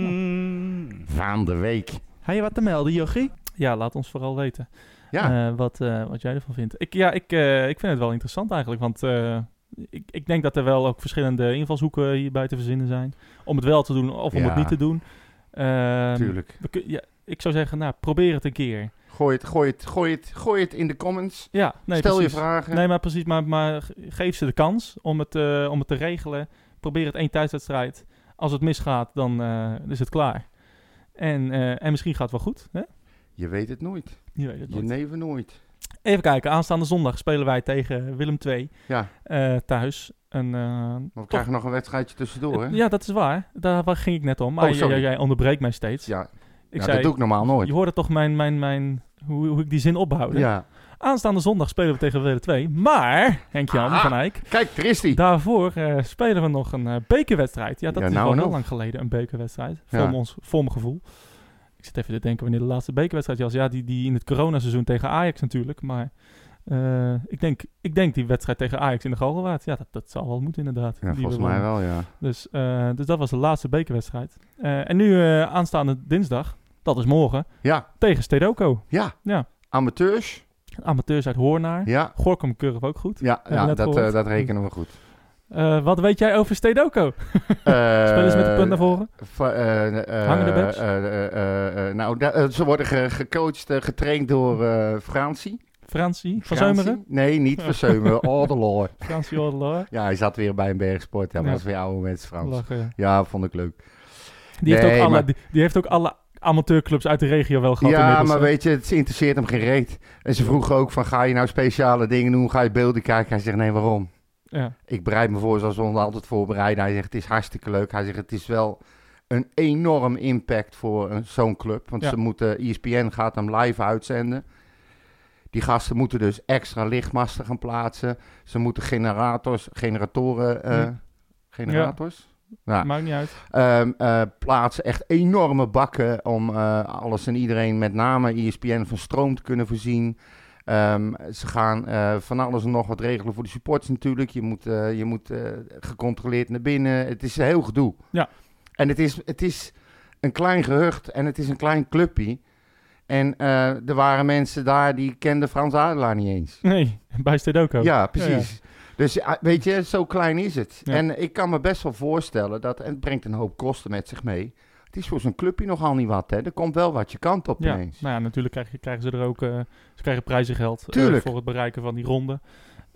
[SPEAKER 8] stelling.
[SPEAKER 5] Van de week.
[SPEAKER 8] Ga je wat te melden, Jochie?
[SPEAKER 1] Ja, laat ons vooral weten
[SPEAKER 5] Ja,
[SPEAKER 1] eh, wat, eh, wat jij ervan vindt. Ik, ja, ik, eh, ik vind het wel interessant eigenlijk. Want eh, ik, ik denk dat er wel ook verschillende invalshoeken hierbij te verzinnen zijn. Om het wel te doen of om
[SPEAKER 5] Ja.
[SPEAKER 1] het niet te doen. Ehm,
[SPEAKER 5] natuurlijk.
[SPEAKER 1] we kun- ja, ik zou zeggen, nou, probeer het een keer.
[SPEAKER 5] Gooi het, gooi het, gooi het, gooi het in de comments.
[SPEAKER 1] Ja, nee,
[SPEAKER 5] Stel
[SPEAKER 1] precies.
[SPEAKER 5] je vragen.
[SPEAKER 1] Nee, maar precies. Maar, maar ge- geef ze de kans om het, eh, om het te regelen. Probeer het één thuiswedstrijd. Als het misgaat, dan eh, is het klaar. En, eh, en misschien gaat het wel goed. Hè?
[SPEAKER 5] Je weet het nooit.
[SPEAKER 1] Je weet het
[SPEAKER 5] Je
[SPEAKER 1] nooit.
[SPEAKER 5] neven nooit.
[SPEAKER 1] Even kijken. Aanstaande zondag spelen wij tegen Willem II
[SPEAKER 5] Ja,
[SPEAKER 1] eh, thuis. En, eh,
[SPEAKER 5] maar we
[SPEAKER 1] toch-
[SPEAKER 5] krijgen nog een wedstrijdje tussendoor, hè?
[SPEAKER 1] ja, dat is waar. Daar waar ging ik net om. Maar
[SPEAKER 5] Oh,
[SPEAKER 1] j-
[SPEAKER 5] sorry.
[SPEAKER 1] j- jij onderbreekt mij steeds.
[SPEAKER 5] Ja,
[SPEAKER 1] ik
[SPEAKER 5] ja,
[SPEAKER 1] zei,
[SPEAKER 5] dat doe ik normaal nooit.
[SPEAKER 1] je hoorde toch mijn, mijn, mijn, hoe, hoe ik die zin opbouwde.
[SPEAKER 5] Ja.
[SPEAKER 1] Aanstaande zondag spelen we tegen Willem II. Maar, Henk-Jan
[SPEAKER 5] Ah.
[SPEAKER 1] van Eyck,
[SPEAKER 5] Kijk, daar is die.
[SPEAKER 1] Daarvoor eh, spelen we nog een eh, bekerwedstrijd. Ja, dat
[SPEAKER 5] Ja,
[SPEAKER 1] is
[SPEAKER 5] nou
[SPEAKER 1] al
[SPEAKER 5] en
[SPEAKER 1] heel
[SPEAKER 5] of.
[SPEAKER 1] lang geleden een bekerwedstrijd. Voor,
[SPEAKER 5] Ja.
[SPEAKER 1] mijn ons, voor mijn gevoel. Ik zit even te denken wanneer de laatste bekerwedstrijd was. Ja, die, die in het coronaseizoen tegen Ajax natuurlijk. Maar eh, ik, denk, ik denk die wedstrijd tegen Ajax in de Galgenwaard. Ja, dat, dat zal wel moeten inderdaad.
[SPEAKER 5] Ja,
[SPEAKER 1] Die
[SPEAKER 5] volgens
[SPEAKER 1] we
[SPEAKER 5] mij
[SPEAKER 1] wonnen.
[SPEAKER 5] wel, ja.
[SPEAKER 1] Dus, eh, dus dat was de laatste bekerwedstrijd. Eh, en nu eh, aanstaande dinsdag, dat is morgen,
[SPEAKER 5] Ja,
[SPEAKER 1] tegen Stedoco.
[SPEAKER 5] ja.
[SPEAKER 1] Ja.
[SPEAKER 5] Amateurs.
[SPEAKER 1] Amateurs uit Hoornaar.
[SPEAKER 5] Ja,
[SPEAKER 1] Gorkum keurig ook goed.
[SPEAKER 5] ja,
[SPEAKER 1] Hebben we
[SPEAKER 5] ja
[SPEAKER 1] net
[SPEAKER 5] dat, eh,
[SPEAKER 1] gehoord.
[SPEAKER 5] dat rekenen we goed.
[SPEAKER 1] Eh, wat weet jij over Stedoco? Spelen ze met de punt naar voren?
[SPEAKER 5] Va- eh, eh,
[SPEAKER 1] Hangende backs?
[SPEAKER 5] eh, eh, eh, eh, nou, da- eh, ze worden ge- gecoacht, eh, getraind door eh Fransie.
[SPEAKER 1] Fransie? Van
[SPEAKER 5] Fransie?
[SPEAKER 1] Zeumeren?
[SPEAKER 5] Nee, niet van Zeumeren. Alderloor.
[SPEAKER 1] Fransie Ordeloor.
[SPEAKER 5] Ja, hij zat weer bij een bergsport. Ja, maar
[SPEAKER 1] Ja.
[SPEAKER 5] dat is weer oude mensen Frans.
[SPEAKER 1] Lachen.
[SPEAKER 5] Ja, vond ik leuk.
[SPEAKER 1] Die, heeft
[SPEAKER 5] Nee,
[SPEAKER 1] ook alle,
[SPEAKER 5] maar-
[SPEAKER 1] die, die heeft ook alle amateurclubs uit de regio wel gehad.
[SPEAKER 5] Ja,
[SPEAKER 1] inmiddels,
[SPEAKER 5] maar
[SPEAKER 1] hè.
[SPEAKER 5] weet je, het interesseert hem geen reet. En ze vroegen ook van, ga je nou speciale dingen doen? Ga je beelden kijken? Hij zegt, nee, waarom?
[SPEAKER 1] Ja.
[SPEAKER 5] Ik bereid me voor zoals we ons altijd voorbereiden. Hij zegt, het is hartstikke leuk. Hij zegt, het is wel een enorm impact voor een- zo'n club. Want
[SPEAKER 1] Ja.
[SPEAKER 5] ze moeten, E ESPN gaat hem live uitzenden. Die gasten moeten dus extra lichtmasten gaan plaatsen. Ze moeten generators, generatoren, eh,
[SPEAKER 1] Hm.
[SPEAKER 5] generators? Ja.
[SPEAKER 1] Maakt niet uit.
[SPEAKER 5] Ehm, eh, plaatsen echt enorme bakken om eh, alles en iedereen, met name E ESPN, van stroom te kunnen voorzien. Ehm, ze gaan eh, van alles en nog wat regelen voor de supporters natuurlijk. Je moet, eh, je moet eh, gecontroleerd naar binnen. Het is een heel gedoe.
[SPEAKER 1] Ja.
[SPEAKER 5] En het is, het is een klein gehucht en het is een klein clubje. En eh, er waren mensen daar die kenden Frans Adelaar niet eens.
[SPEAKER 1] Nee, bij Stedoco.
[SPEAKER 5] Ja, precies. Dus eh, weet je, zo klein is het.
[SPEAKER 1] Ja.
[SPEAKER 5] En ik kan me best wel voorstellen dat, en het brengt een hoop kosten met zich mee. Het is voor zo'n clubje nogal niet wat, hè. Er komt wel wat je kant op
[SPEAKER 1] Ja, nou
[SPEAKER 5] ineens.
[SPEAKER 1] ja, natuurlijk krijg je- krijgen ze er ook eh, ze krijgen prijzengeld eh,
[SPEAKER 5] Tuurlijk.
[SPEAKER 1] voor het bereiken van die ronde.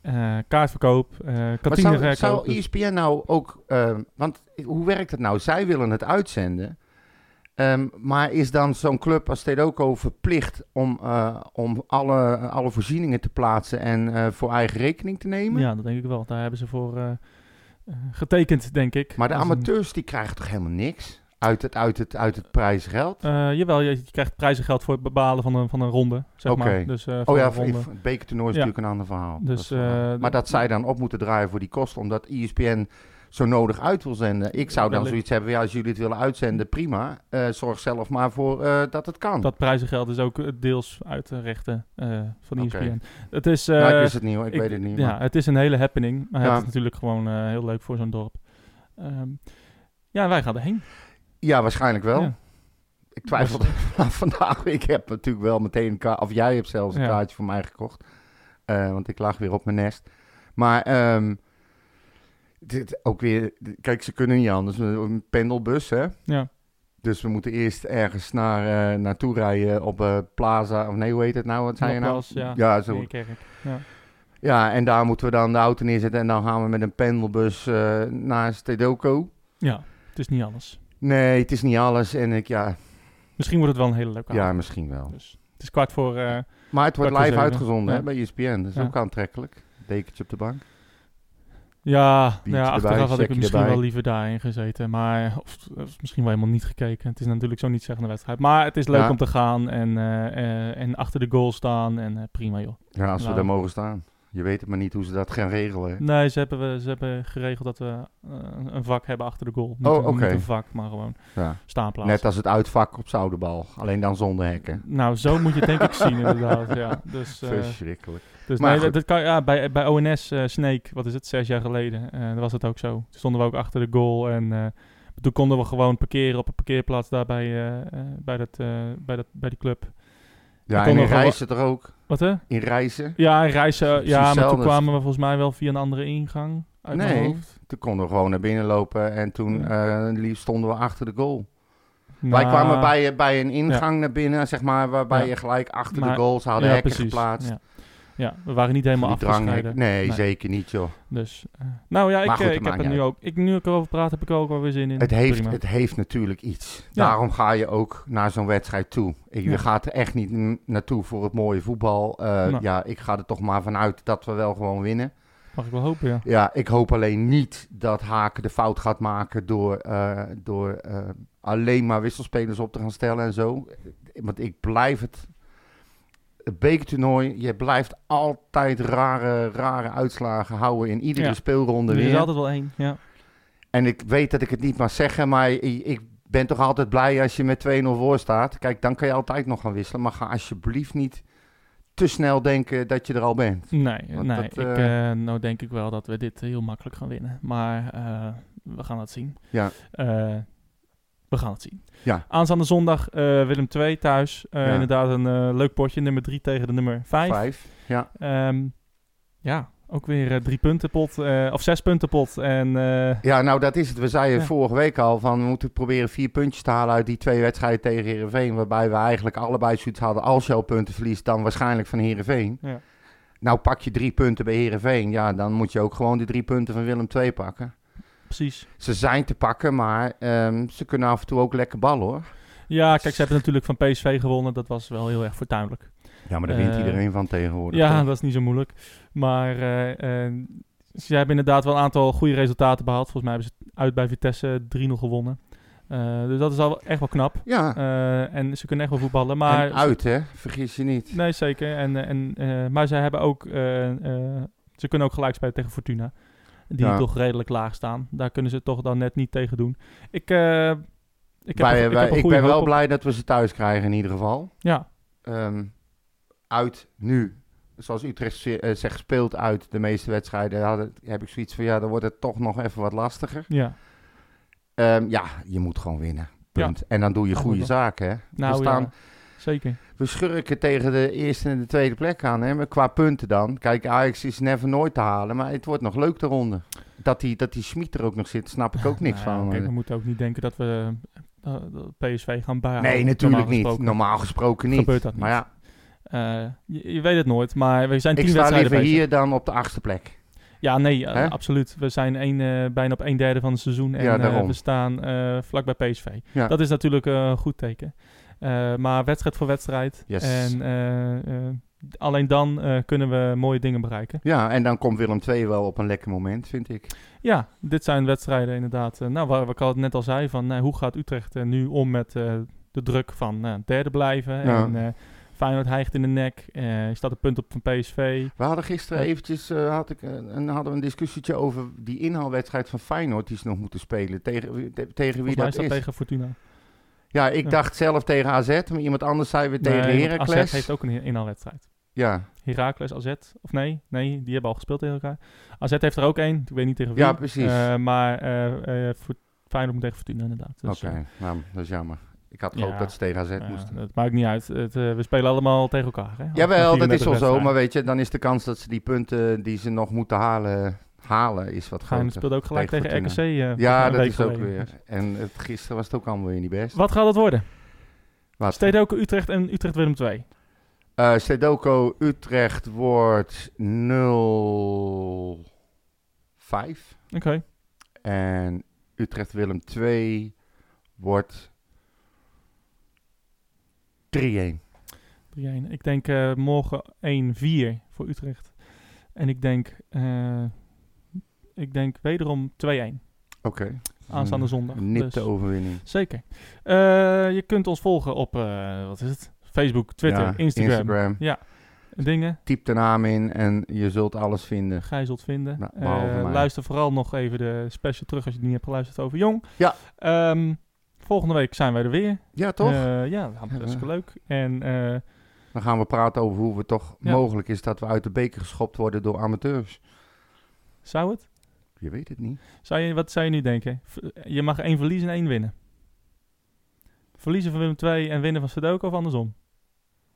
[SPEAKER 1] Eh, kaartverkoop, eh
[SPEAKER 5] Maar zou,
[SPEAKER 1] kantineverkoop.
[SPEAKER 5] zou
[SPEAKER 1] dus-
[SPEAKER 5] ESPN nou ook, eh, want hoe werkt het nou? Zij willen het uitzenden, ehm, maar is dan zo'n club als Stedoco verplicht om, eh, om alle, alle voorzieningen te plaatsen en eh, voor eigen rekening te nemen?
[SPEAKER 1] ja, dat denk ik wel. Daar hebben ze voor eh, eh, getekend, denk ik.
[SPEAKER 5] Maar de
[SPEAKER 1] Als een-
[SPEAKER 5] amateurs die krijgen toch helemaal niks uit het, uit het, uit het prijsgeld?
[SPEAKER 1] Eh, jawel, je, je krijgt prijzengeld voor het bepalen van een, van een ronde, zeg
[SPEAKER 5] Oké.
[SPEAKER 1] maar. Dus, eh, van
[SPEAKER 5] Oh ja,
[SPEAKER 1] een
[SPEAKER 5] voor-
[SPEAKER 1] ronde.
[SPEAKER 5] voor het bekertoernooi is
[SPEAKER 1] Ja.
[SPEAKER 5] natuurlijk een ander verhaal.
[SPEAKER 1] Dus,
[SPEAKER 5] Dat is waar.
[SPEAKER 1] eh,
[SPEAKER 5] maar
[SPEAKER 1] dat-
[SPEAKER 5] E dat zij dan op moeten draaien voor die kosten, omdat ESPN zo nodig uit wil zenden. Ik zou dan
[SPEAKER 1] Wellicht.
[SPEAKER 5] zoiets hebben, ja, als jullie het willen uitzenden, prima. Eh, zorg zelf maar voor eh, dat het kan.
[SPEAKER 1] Dat prijzengeld is ook eh, deels uit de rechten eh, van
[SPEAKER 5] Oké.
[SPEAKER 1] ESPN. Het is, eh,
[SPEAKER 5] nou, ik wist het niet hoor, ik,
[SPEAKER 1] ik-
[SPEAKER 5] weet het niet.
[SPEAKER 1] ja,
[SPEAKER 5] maar-
[SPEAKER 1] het is een hele happening, maar
[SPEAKER 5] Ja.
[SPEAKER 1] het is natuurlijk gewoon eh, heel leuk voor zo'n dorp. Ehm, ja, wij gaan erheen.
[SPEAKER 5] ja, waarschijnlijk wel.
[SPEAKER 1] Ja.
[SPEAKER 5] Ik twijfelde aan vandaag. Ik heb natuurlijk wel meteen een kaart, of jij hebt zelfs een
[SPEAKER 1] Ja.
[SPEAKER 5] kaartje voor mij gekocht. Eh, want ik lag weer op mijn nest. Maar ehm, dit ook weer, kijk, ze kunnen niet anders. Een pendelbus, hè?
[SPEAKER 1] Ja.
[SPEAKER 5] Dus we moeten eerst ergens naar, eh, naartoe rijden op eh, Plaza, of nee, hoe heet het nou? Wat zei je nou?
[SPEAKER 1] Nogmaals, ja.
[SPEAKER 5] zo.
[SPEAKER 1] Meerkerk.
[SPEAKER 5] ja, en daar moeten we dan de auto neerzetten. En dan gaan we met een pendelbus eh, naar Stedoco.
[SPEAKER 1] Ja, het is niet anders.
[SPEAKER 5] Nee, het is niet alles. En ik, ja,
[SPEAKER 1] Misschien wordt het wel een hele leuke
[SPEAKER 5] ja
[SPEAKER 1] avond.
[SPEAKER 5] misschien wel.
[SPEAKER 1] Dus het is kwart voor... eh,
[SPEAKER 5] Maar het wordt
[SPEAKER 1] Kwart
[SPEAKER 5] live
[SPEAKER 1] voor zeven.
[SPEAKER 5] uitgezonden hè,
[SPEAKER 1] Ja.
[SPEAKER 5] bij E ESPN. Dat is
[SPEAKER 1] Ja.
[SPEAKER 5] ook aantrekkelijk. Dekentje op de bank.
[SPEAKER 1] ja, nou ja,
[SPEAKER 5] erbij,
[SPEAKER 1] achteraf had ik
[SPEAKER 5] checkje
[SPEAKER 1] er misschien
[SPEAKER 5] erbij.
[SPEAKER 1] wel liever daarin gezeten. Maar, of, of misschien wel helemaal niet gekeken. Het is natuurlijk zo niet zeggen de wedstrijd. Maar het is leuk
[SPEAKER 5] Ja.
[SPEAKER 1] om te gaan en, eh, eh, en achter de goal staan. En eh, prima joh.
[SPEAKER 5] Ja, als we
[SPEAKER 1] Nou.
[SPEAKER 5] daar mogen staan. Je weet het maar niet hoe ze dat gaan regelen. hè.
[SPEAKER 1] Nee, ze hebben, we- ze hebben geregeld dat we eh, een vak hebben achter de goal. Niet,
[SPEAKER 5] Oh,
[SPEAKER 1] een-
[SPEAKER 5] oké.
[SPEAKER 1] niet een vak, maar gewoon
[SPEAKER 5] Ja.
[SPEAKER 1] staanplaats.
[SPEAKER 5] Net als het uitvak op Zoudenbal. Alleen dan zonder hekken.
[SPEAKER 1] Nou, zo moet je het denk ik zien inderdaad. Ja. Dus, eh,
[SPEAKER 5] Verschrikkelijk.
[SPEAKER 1] dus
[SPEAKER 5] Maar
[SPEAKER 1] nee, dat,
[SPEAKER 5] goed.
[SPEAKER 1] dat kan, ja, bij, bij ONS eh, Snake, wat is het, zes jaar geleden, eh, daar was het ook zo. Toen stonden we ook achter de goal en eh, toen konden we gewoon parkeren op een parkeerplaats daar bij, eh, eh, bij, dat, eh, bij, dat, bij die club.
[SPEAKER 5] Ja, en
[SPEAKER 1] konden
[SPEAKER 5] in
[SPEAKER 1] gewoon-
[SPEAKER 5] reizen toch ook?
[SPEAKER 1] Wat hè?
[SPEAKER 5] In reizen?
[SPEAKER 1] Ja, en reizen.
[SPEAKER 5] Precies
[SPEAKER 1] Ja, maar toen
[SPEAKER 5] hetzelfde.
[SPEAKER 1] kwamen we volgens mij wel via een andere ingang uit mijn
[SPEAKER 5] Nee.
[SPEAKER 1] hoofd.
[SPEAKER 5] Toen konden we gewoon naar binnen lopen en toen eh, lief stonden we achter de goal. Wij
[SPEAKER 1] Nou,
[SPEAKER 5] kwamen bij, eh, bij een ingang naar binnen, zeg maar, waarbij
[SPEAKER 1] Ja.
[SPEAKER 5] je gelijk achter
[SPEAKER 1] Maar-
[SPEAKER 5] de goals hadden
[SPEAKER 1] ja,
[SPEAKER 5] hekken
[SPEAKER 1] precies.
[SPEAKER 5] geplaatst.
[SPEAKER 1] Ja. ja, we waren niet
[SPEAKER 5] Van
[SPEAKER 1] helemaal
[SPEAKER 5] die
[SPEAKER 1] afgescheiden.
[SPEAKER 5] dranghekken. Nee,
[SPEAKER 1] Nee.
[SPEAKER 5] zeker niet, joh.
[SPEAKER 1] Dus, eh, nou ja, ik,
[SPEAKER 5] Maar goed,
[SPEAKER 1] eh,
[SPEAKER 5] dat
[SPEAKER 1] ik
[SPEAKER 5] maakt
[SPEAKER 1] heb er
[SPEAKER 5] niet
[SPEAKER 1] nu ook. Ik, nu ik erover praat, heb ik er ook wel weer zin in.
[SPEAKER 5] Het heeft,
[SPEAKER 1] Prima.
[SPEAKER 5] het heeft natuurlijk iets.
[SPEAKER 1] Ja.
[SPEAKER 5] Daarom ga je ook naar zo'n wedstrijd toe. Ik,
[SPEAKER 1] Ja.
[SPEAKER 5] Je gaat er echt niet n- naartoe voor het mooie voetbal. Eh,
[SPEAKER 1] Nou.
[SPEAKER 5] Ja, ik ga er toch maar vanuit dat we wel gewoon winnen.
[SPEAKER 1] Mag ik wel hopen, ja.
[SPEAKER 5] Ja, ik hoop alleen niet dat Haken de fout gaat maken door, eh, door eh, alleen maar wisselspelers op te gaan stellen en zo. Want ik blijf het. Het bekertoernooi, je blijft altijd rare, rare uitslagen houden in iedere
[SPEAKER 1] Ja.
[SPEAKER 5] speelronde
[SPEAKER 1] Er is
[SPEAKER 5] weer.
[SPEAKER 1] altijd wel één. Ja.
[SPEAKER 5] En ik weet dat ik het niet mag zeggen, maar i- ik, ben toch altijd blij als je met 2-0 voor staat. Kijk, dan kan je altijd nog gaan wisselen, maar ga alsjeblieft niet te snel denken dat je er al bent.
[SPEAKER 1] Nee,
[SPEAKER 5] Want
[SPEAKER 1] nee.
[SPEAKER 5] dat,
[SPEAKER 1] ik,
[SPEAKER 5] eh,
[SPEAKER 1] eh, nou denk ik wel dat we dit heel makkelijk gaan winnen. Maar eh, we gaan het zien.
[SPEAKER 5] Ja.
[SPEAKER 1] Eh, we gaan het zien.
[SPEAKER 5] Ja.
[SPEAKER 1] Aanstaande zondag eh, Willem 2 thuis. Eh,
[SPEAKER 5] Ja.
[SPEAKER 1] Inderdaad een eh, leuk potje. Nummer 3 tegen de nummer 5.
[SPEAKER 5] Vijf. Ja,
[SPEAKER 1] ja, ook weer eh, drie punten pot. eh, of zes punten pot. En eh,
[SPEAKER 5] ja nou dat is het. We zeiden
[SPEAKER 1] Ja.
[SPEAKER 5] vorige week al van we moeten proberen vier puntjes te halen uit die twee wedstrijden tegen Herenveen. Waarbij we eigenlijk allebei zoiets hadden. Als je al punten verliest, dan waarschijnlijk van Herenveen.
[SPEAKER 1] Ja.
[SPEAKER 5] Nou pak je drie punten bij Herenveen. Ja, dan moet je ook gewoon de drie punten van Willem II pakken.
[SPEAKER 1] precies.
[SPEAKER 5] Ze zijn te pakken, maar ehm, ze kunnen af en toe ook lekker ballen hoor.
[SPEAKER 1] Ja, kijk, ze hebben natuurlijk van PSV gewonnen. Dat was wel heel erg fortuinlijk.
[SPEAKER 5] Ja, maar daar wint
[SPEAKER 1] Eh,
[SPEAKER 5] iedereen van tegenwoordig.
[SPEAKER 1] Ja,
[SPEAKER 5] toch?
[SPEAKER 1] dat is niet zo moeilijk. Maar eh, eh, ze hebben inderdaad wel een aantal goede resultaten behaald. Volgens mij hebben ze uit bij Vitesse 3-0 gewonnen. Eh, dus dat is al echt wel knap.
[SPEAKER 5] ja.
[SPEAKER 1] Eh, en ze kunnen echt wel voetballen. Maar
[SPEAKER 5] en uit, hè? Vergis je niet.
[SPEAKER 1] Nee, zeker. En, eh, en, eh, maar ze hebben ook. eh, eh, ze kunnen ook gelijk spelen tegen Fortuna. Die
[SPEAKER 5] Ja.
[SPEAKER 1] toch redelijk laag staan. Daar kunnen ze toch dan net niet tegen doen. Ik, eh, ik, heb
[SPEAKER 5] Wij-
[SPEAKER 1] er- ik,
[SPEAKER 5] wij-
[SPEAKER 1] heb er
[SPEAKER 5] ik
[SPEAKER 1] goede
[SPEAKER 5] ben
[SPEAKER 1] hoop
[SPEAKER 5] wel
[SPEAKER 1] op.
[SPEAKER 5] blij dat we ze thuis krijgen in ieder geval.
[SPEAKER 1] Ja,
[SPEAKER 5] Ehm, uit nu. Zoals Utrecht ze- eh, zegt, speelt uit de meeste wedstrijden. Ja, dat- heb ik zoiets van, ja, dan wordt het toch nog even wat lastiger.
[SPEAKER 1] ja.
[SPEAKER 5] Ehm, ja, je moet gewoon winnen.
[SPEAKER 1] Ja.
[SPEAKER 5] Punt. En dan doe je
[SPEAKER 1] Dat
[SPEAKER 5] goede
[SPEAKER 1] moet
[SPEAKER 5] zaken, hè?
[SPEAKER 1] Nou,
[SPEAKER 5] we, staan,
[SPEAKER 1] ja, zeker.
[SPEAKER 5] we schurken tegen de eerste en de tweede plek aan, hè? Maar qua punten dan. Kijk, Ajax is never nooit te halen, maar het wordt nog leuk de ronde. Dat die, dat die Schmid er ook nog zit, snap ik ook niks
[SPEAKER 1] Nou ja,
[SPEAKER 5] van. eh.
[SPEAKER 1] Kijk, we moeten ook niet denken dat we eh, eh, dat PSV gaan bijhouden.
[SPEAKER 5] Nee, natuurlijk
[SPEAKER 1] Normaal
[SPEAKER 5] niet.
[SPEAKER 1] gesproken
[SPEAKER 5] Normaal gesproken niet.
[SPEAKER 1] Gebeurt dat niet.
[SPEAKER 5] Maar ja,
[SPEAKER 1] Eh, je, je weet het nooit, maar we zijn
[SPEAKER 5] ik
[SPEAKER 1] tien
[SPEAKER 5] sta
[SPEAKER 1] wedstrijden
[SPEAKER 5] liever
[SPEAKER 1] bezig.
[SPEAKER 5] hier dan op de achtste plek.
[SPEAKER 1] Ja, nee, eh,
[SPEAKER 5] Hè?
[SPEAKER 1] absoluut. We zijn één, eh, bijna op een derde van het seizoen en
[SPEAKER 5] Ja,
[SPEAKER 1] eh,
[SPEAKER 5] daarom.
[SPEAKER 1] we staan eh, vlak bij PSV.
[SPEAKER 5] Ja.
[SPEAKER 1] Dat is natuurlijk eh, een goed teken. Eh, maar wedstrijd voor wedstrijd.
[SPEAKER 5] Yes.
[SPEAKER 1] En eh, eh, alleen dan eh, kunnen we mooie dingen bereiken.
[SPEAKER 5] Ja, en dan komt Willem II wel op een lekker moment, vind ik.
[SPEAKER 1] Ja, dit zijn wedstrijden inderdaad. eh, nou, waar, waar ik al net al zei, van, eh, hoe gaat Utrecht eh, nu om met eh, de druk van eh, derde blijven
[SPEAKER 5] Ja.
[SPEAKER 1] en eh, Feyenoord hijgt in de nek. eh staat een punt op van PSV.
[SPEAKER 5] We hadden gisteren eventjes eh, had ik, een, een- hadden we een discussietje over die inhaalwedstrijd van Feyenoord die ze nog moeten spelen. Tegen, wie- te- tegen wie
[SPEAKER 1] Volgens mij
[SPEAKER 5] dat
[SPEAKER 1] staat
[SPEAKER 5] is.
[SPEAKER 1] tegen Fortuna.
[SPEAKER 5] Ja, ik
[SPEAKER 1] Ja.
[SPEAKER 5] dacht zelf tegen AZ, maar iemand anders zei weer tegen
[SPEAKER 1] Nee, want AZ
[SPEAKER 5] Heracles.
[SPEAKER 1] heeft ook een he- inhaalwedstrijd.
[SPEAKER 5] Ja.
[SPEAKER 1] Heracles, AZ. Of nee, nee, die hebben al gespeeld tegen elkaar. AZ heeft er ook één. Ik weet niet tegen wie.
[SPEAKER 5] ja, precies.
[SPEAKER 1] Eh, maar eh eh Fort- Feyenoord moet tegen Fortuna inderdaad. Dus,
[SPEAKER 5] Oké,
[SPEAKER 1] eh,
[SPEAKER 5] nou, dat is jammer. Ik had gehoopt
[SPEAKER 1] Ja.
[SPEAKER 5] dat ze tegen AZ
[SPEAKER 1] ja,
[SPEAKER 5] moesten.
[SPEAKER 1] het maakt niet uit. Het, eh, we spelen allemaal tegen elkaar. Hè?
[SPEAKER 5] Jawel, dat is wel zo, maar
[SPEAKER 1] we
[SPEAKER 5] weet je, dan is de kans dat ze die punten die ze nog moeten halen, halen is wat
[SPEAKER 1] Gaan
[SPEAKER 5] groter.
[SPEAKER 1] speelde ook gelijk tegen,
[SPEAKER 5] tegen
[SPEAKER 1] RKC. eh,
[SPEAKER 5] Ja,
[SPEAKER 1] een
[SPEAKER 5] dat
[SPEAKER 1] week
[SPEAKER 5] is ook
[SPEAKER 1] geleden.
[SPEAKER 5] weer. En het, gisteren was het ook allemaal weer niet best.
[SPEAKER 1] Wat gaat het worden?
[SPEAKER 5] Wat?
[SPEAKER 1] Stedoko Utrecht en Utrecht Willem 2.
[SPEAKER 5] Eh Stedoco Utrecht wordt 0-5.
[SPEAKER 1] Oké.
[SPEAKER 5] En Utrecht Willem 2 wordt 3-1.
[SPEAKER 1] 3-1. Ik denk eh, morgen 1-4 voor Utrecht. En ik denk, eh, ik denk wederom 2-1.
[SPEAKER 5] Oké.
[SPEAKER 1] Aanstaande zondag.
[SPEAKER 5] Een nipte
[SPEAKER 1] Dus-
[SPEAKER 5] overwinning.
[SPEAKER 1] Zeker. Eh, je kunt ons volgen op, eh, wat is het? Facebook, Twitter,
[SPEAKER 5] Ja,
[SPEAKER 1] Instagram.
[SPEAKER 5] Instagram.
[SPEAKER 1] Dingen.
[SPEAKER 5] Typ de naam in en je zult alles vinden.
[SPEAKER 1] Gij zult vinden.
[SPEAKER 5] Nou,
[SPEAKER 1] Eh,
[SPEAKER 5] behalve mij.
[SPEAKER 1] luister vooral nog even de special terug als je het niet hebt geluisterd over Jong.
[SPEAKER 5] Ja.
[SPEAKER 1] Ehm, volgende week zijn wij er weer.
[SPEAKER 5] Ja, toch?
[SPEAKER 1] Eh, ja, dat is hartstikke leuk. En eh,
[SPEAKER 5] Dan gaan we praten over hoe we toch
[SPEAKER 1] Ja.
[SPEAKER 5] mogelijk is dat we uit de beker geschopt worden door amateurs.
[SPEAKER 1] zou het?
[SPEAKER 5] Je weet het niet.
[SPEAKER 1] Zou je, wat zou je nu denken? V- Je mag één verliezen en één winnen. Verliezen van Willem 2 en winnen van Sudoku of andersom?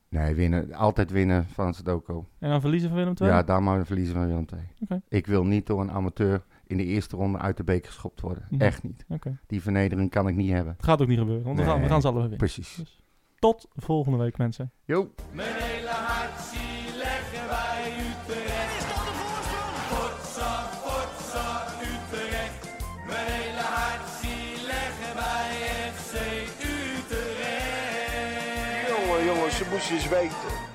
[SPEAKER 5] Nee, winnen, altijd winnen van Sadoko.
[SPEAKER 1] En dan verliezen van Willem 2?
[SPEAKER 5] Ja, daar maar verliezen van Willem II.
[SPEAKER 1] Oké.
[SPEAKER 5] Ik wil niet door een amateur in de eerste ronde uit de beker geschopt worden.
[SPEAKER 1] Mhm.
[SPEAKER 5] Echt niet.
[SPEAKER 1] Oké.
[SPEAKER 5] Die vernedering kan ik niet hebben.
[SPEAKER 1] Dat gaat ook niet gebeuren, want we, gaan, we
[SPEAKER 5] Nee.
[SPEAKER 1] gaan ze allebei winnen.
[SPEAKER 5] Precies.
[SPEAKER 1] Dus tot volgende week, mensen.
[SPEAKER 5] Jo.
[SPEAKER 3] Mijn hele hart zie leggen wij Utrecht. Is dat de voorsprong? Potsa, potsa, Utrecht. Mijn hele hart zie leggen wij FC Utrecht.
[SPEAKER 4] Jongen, jongen, ze moest je eens weten.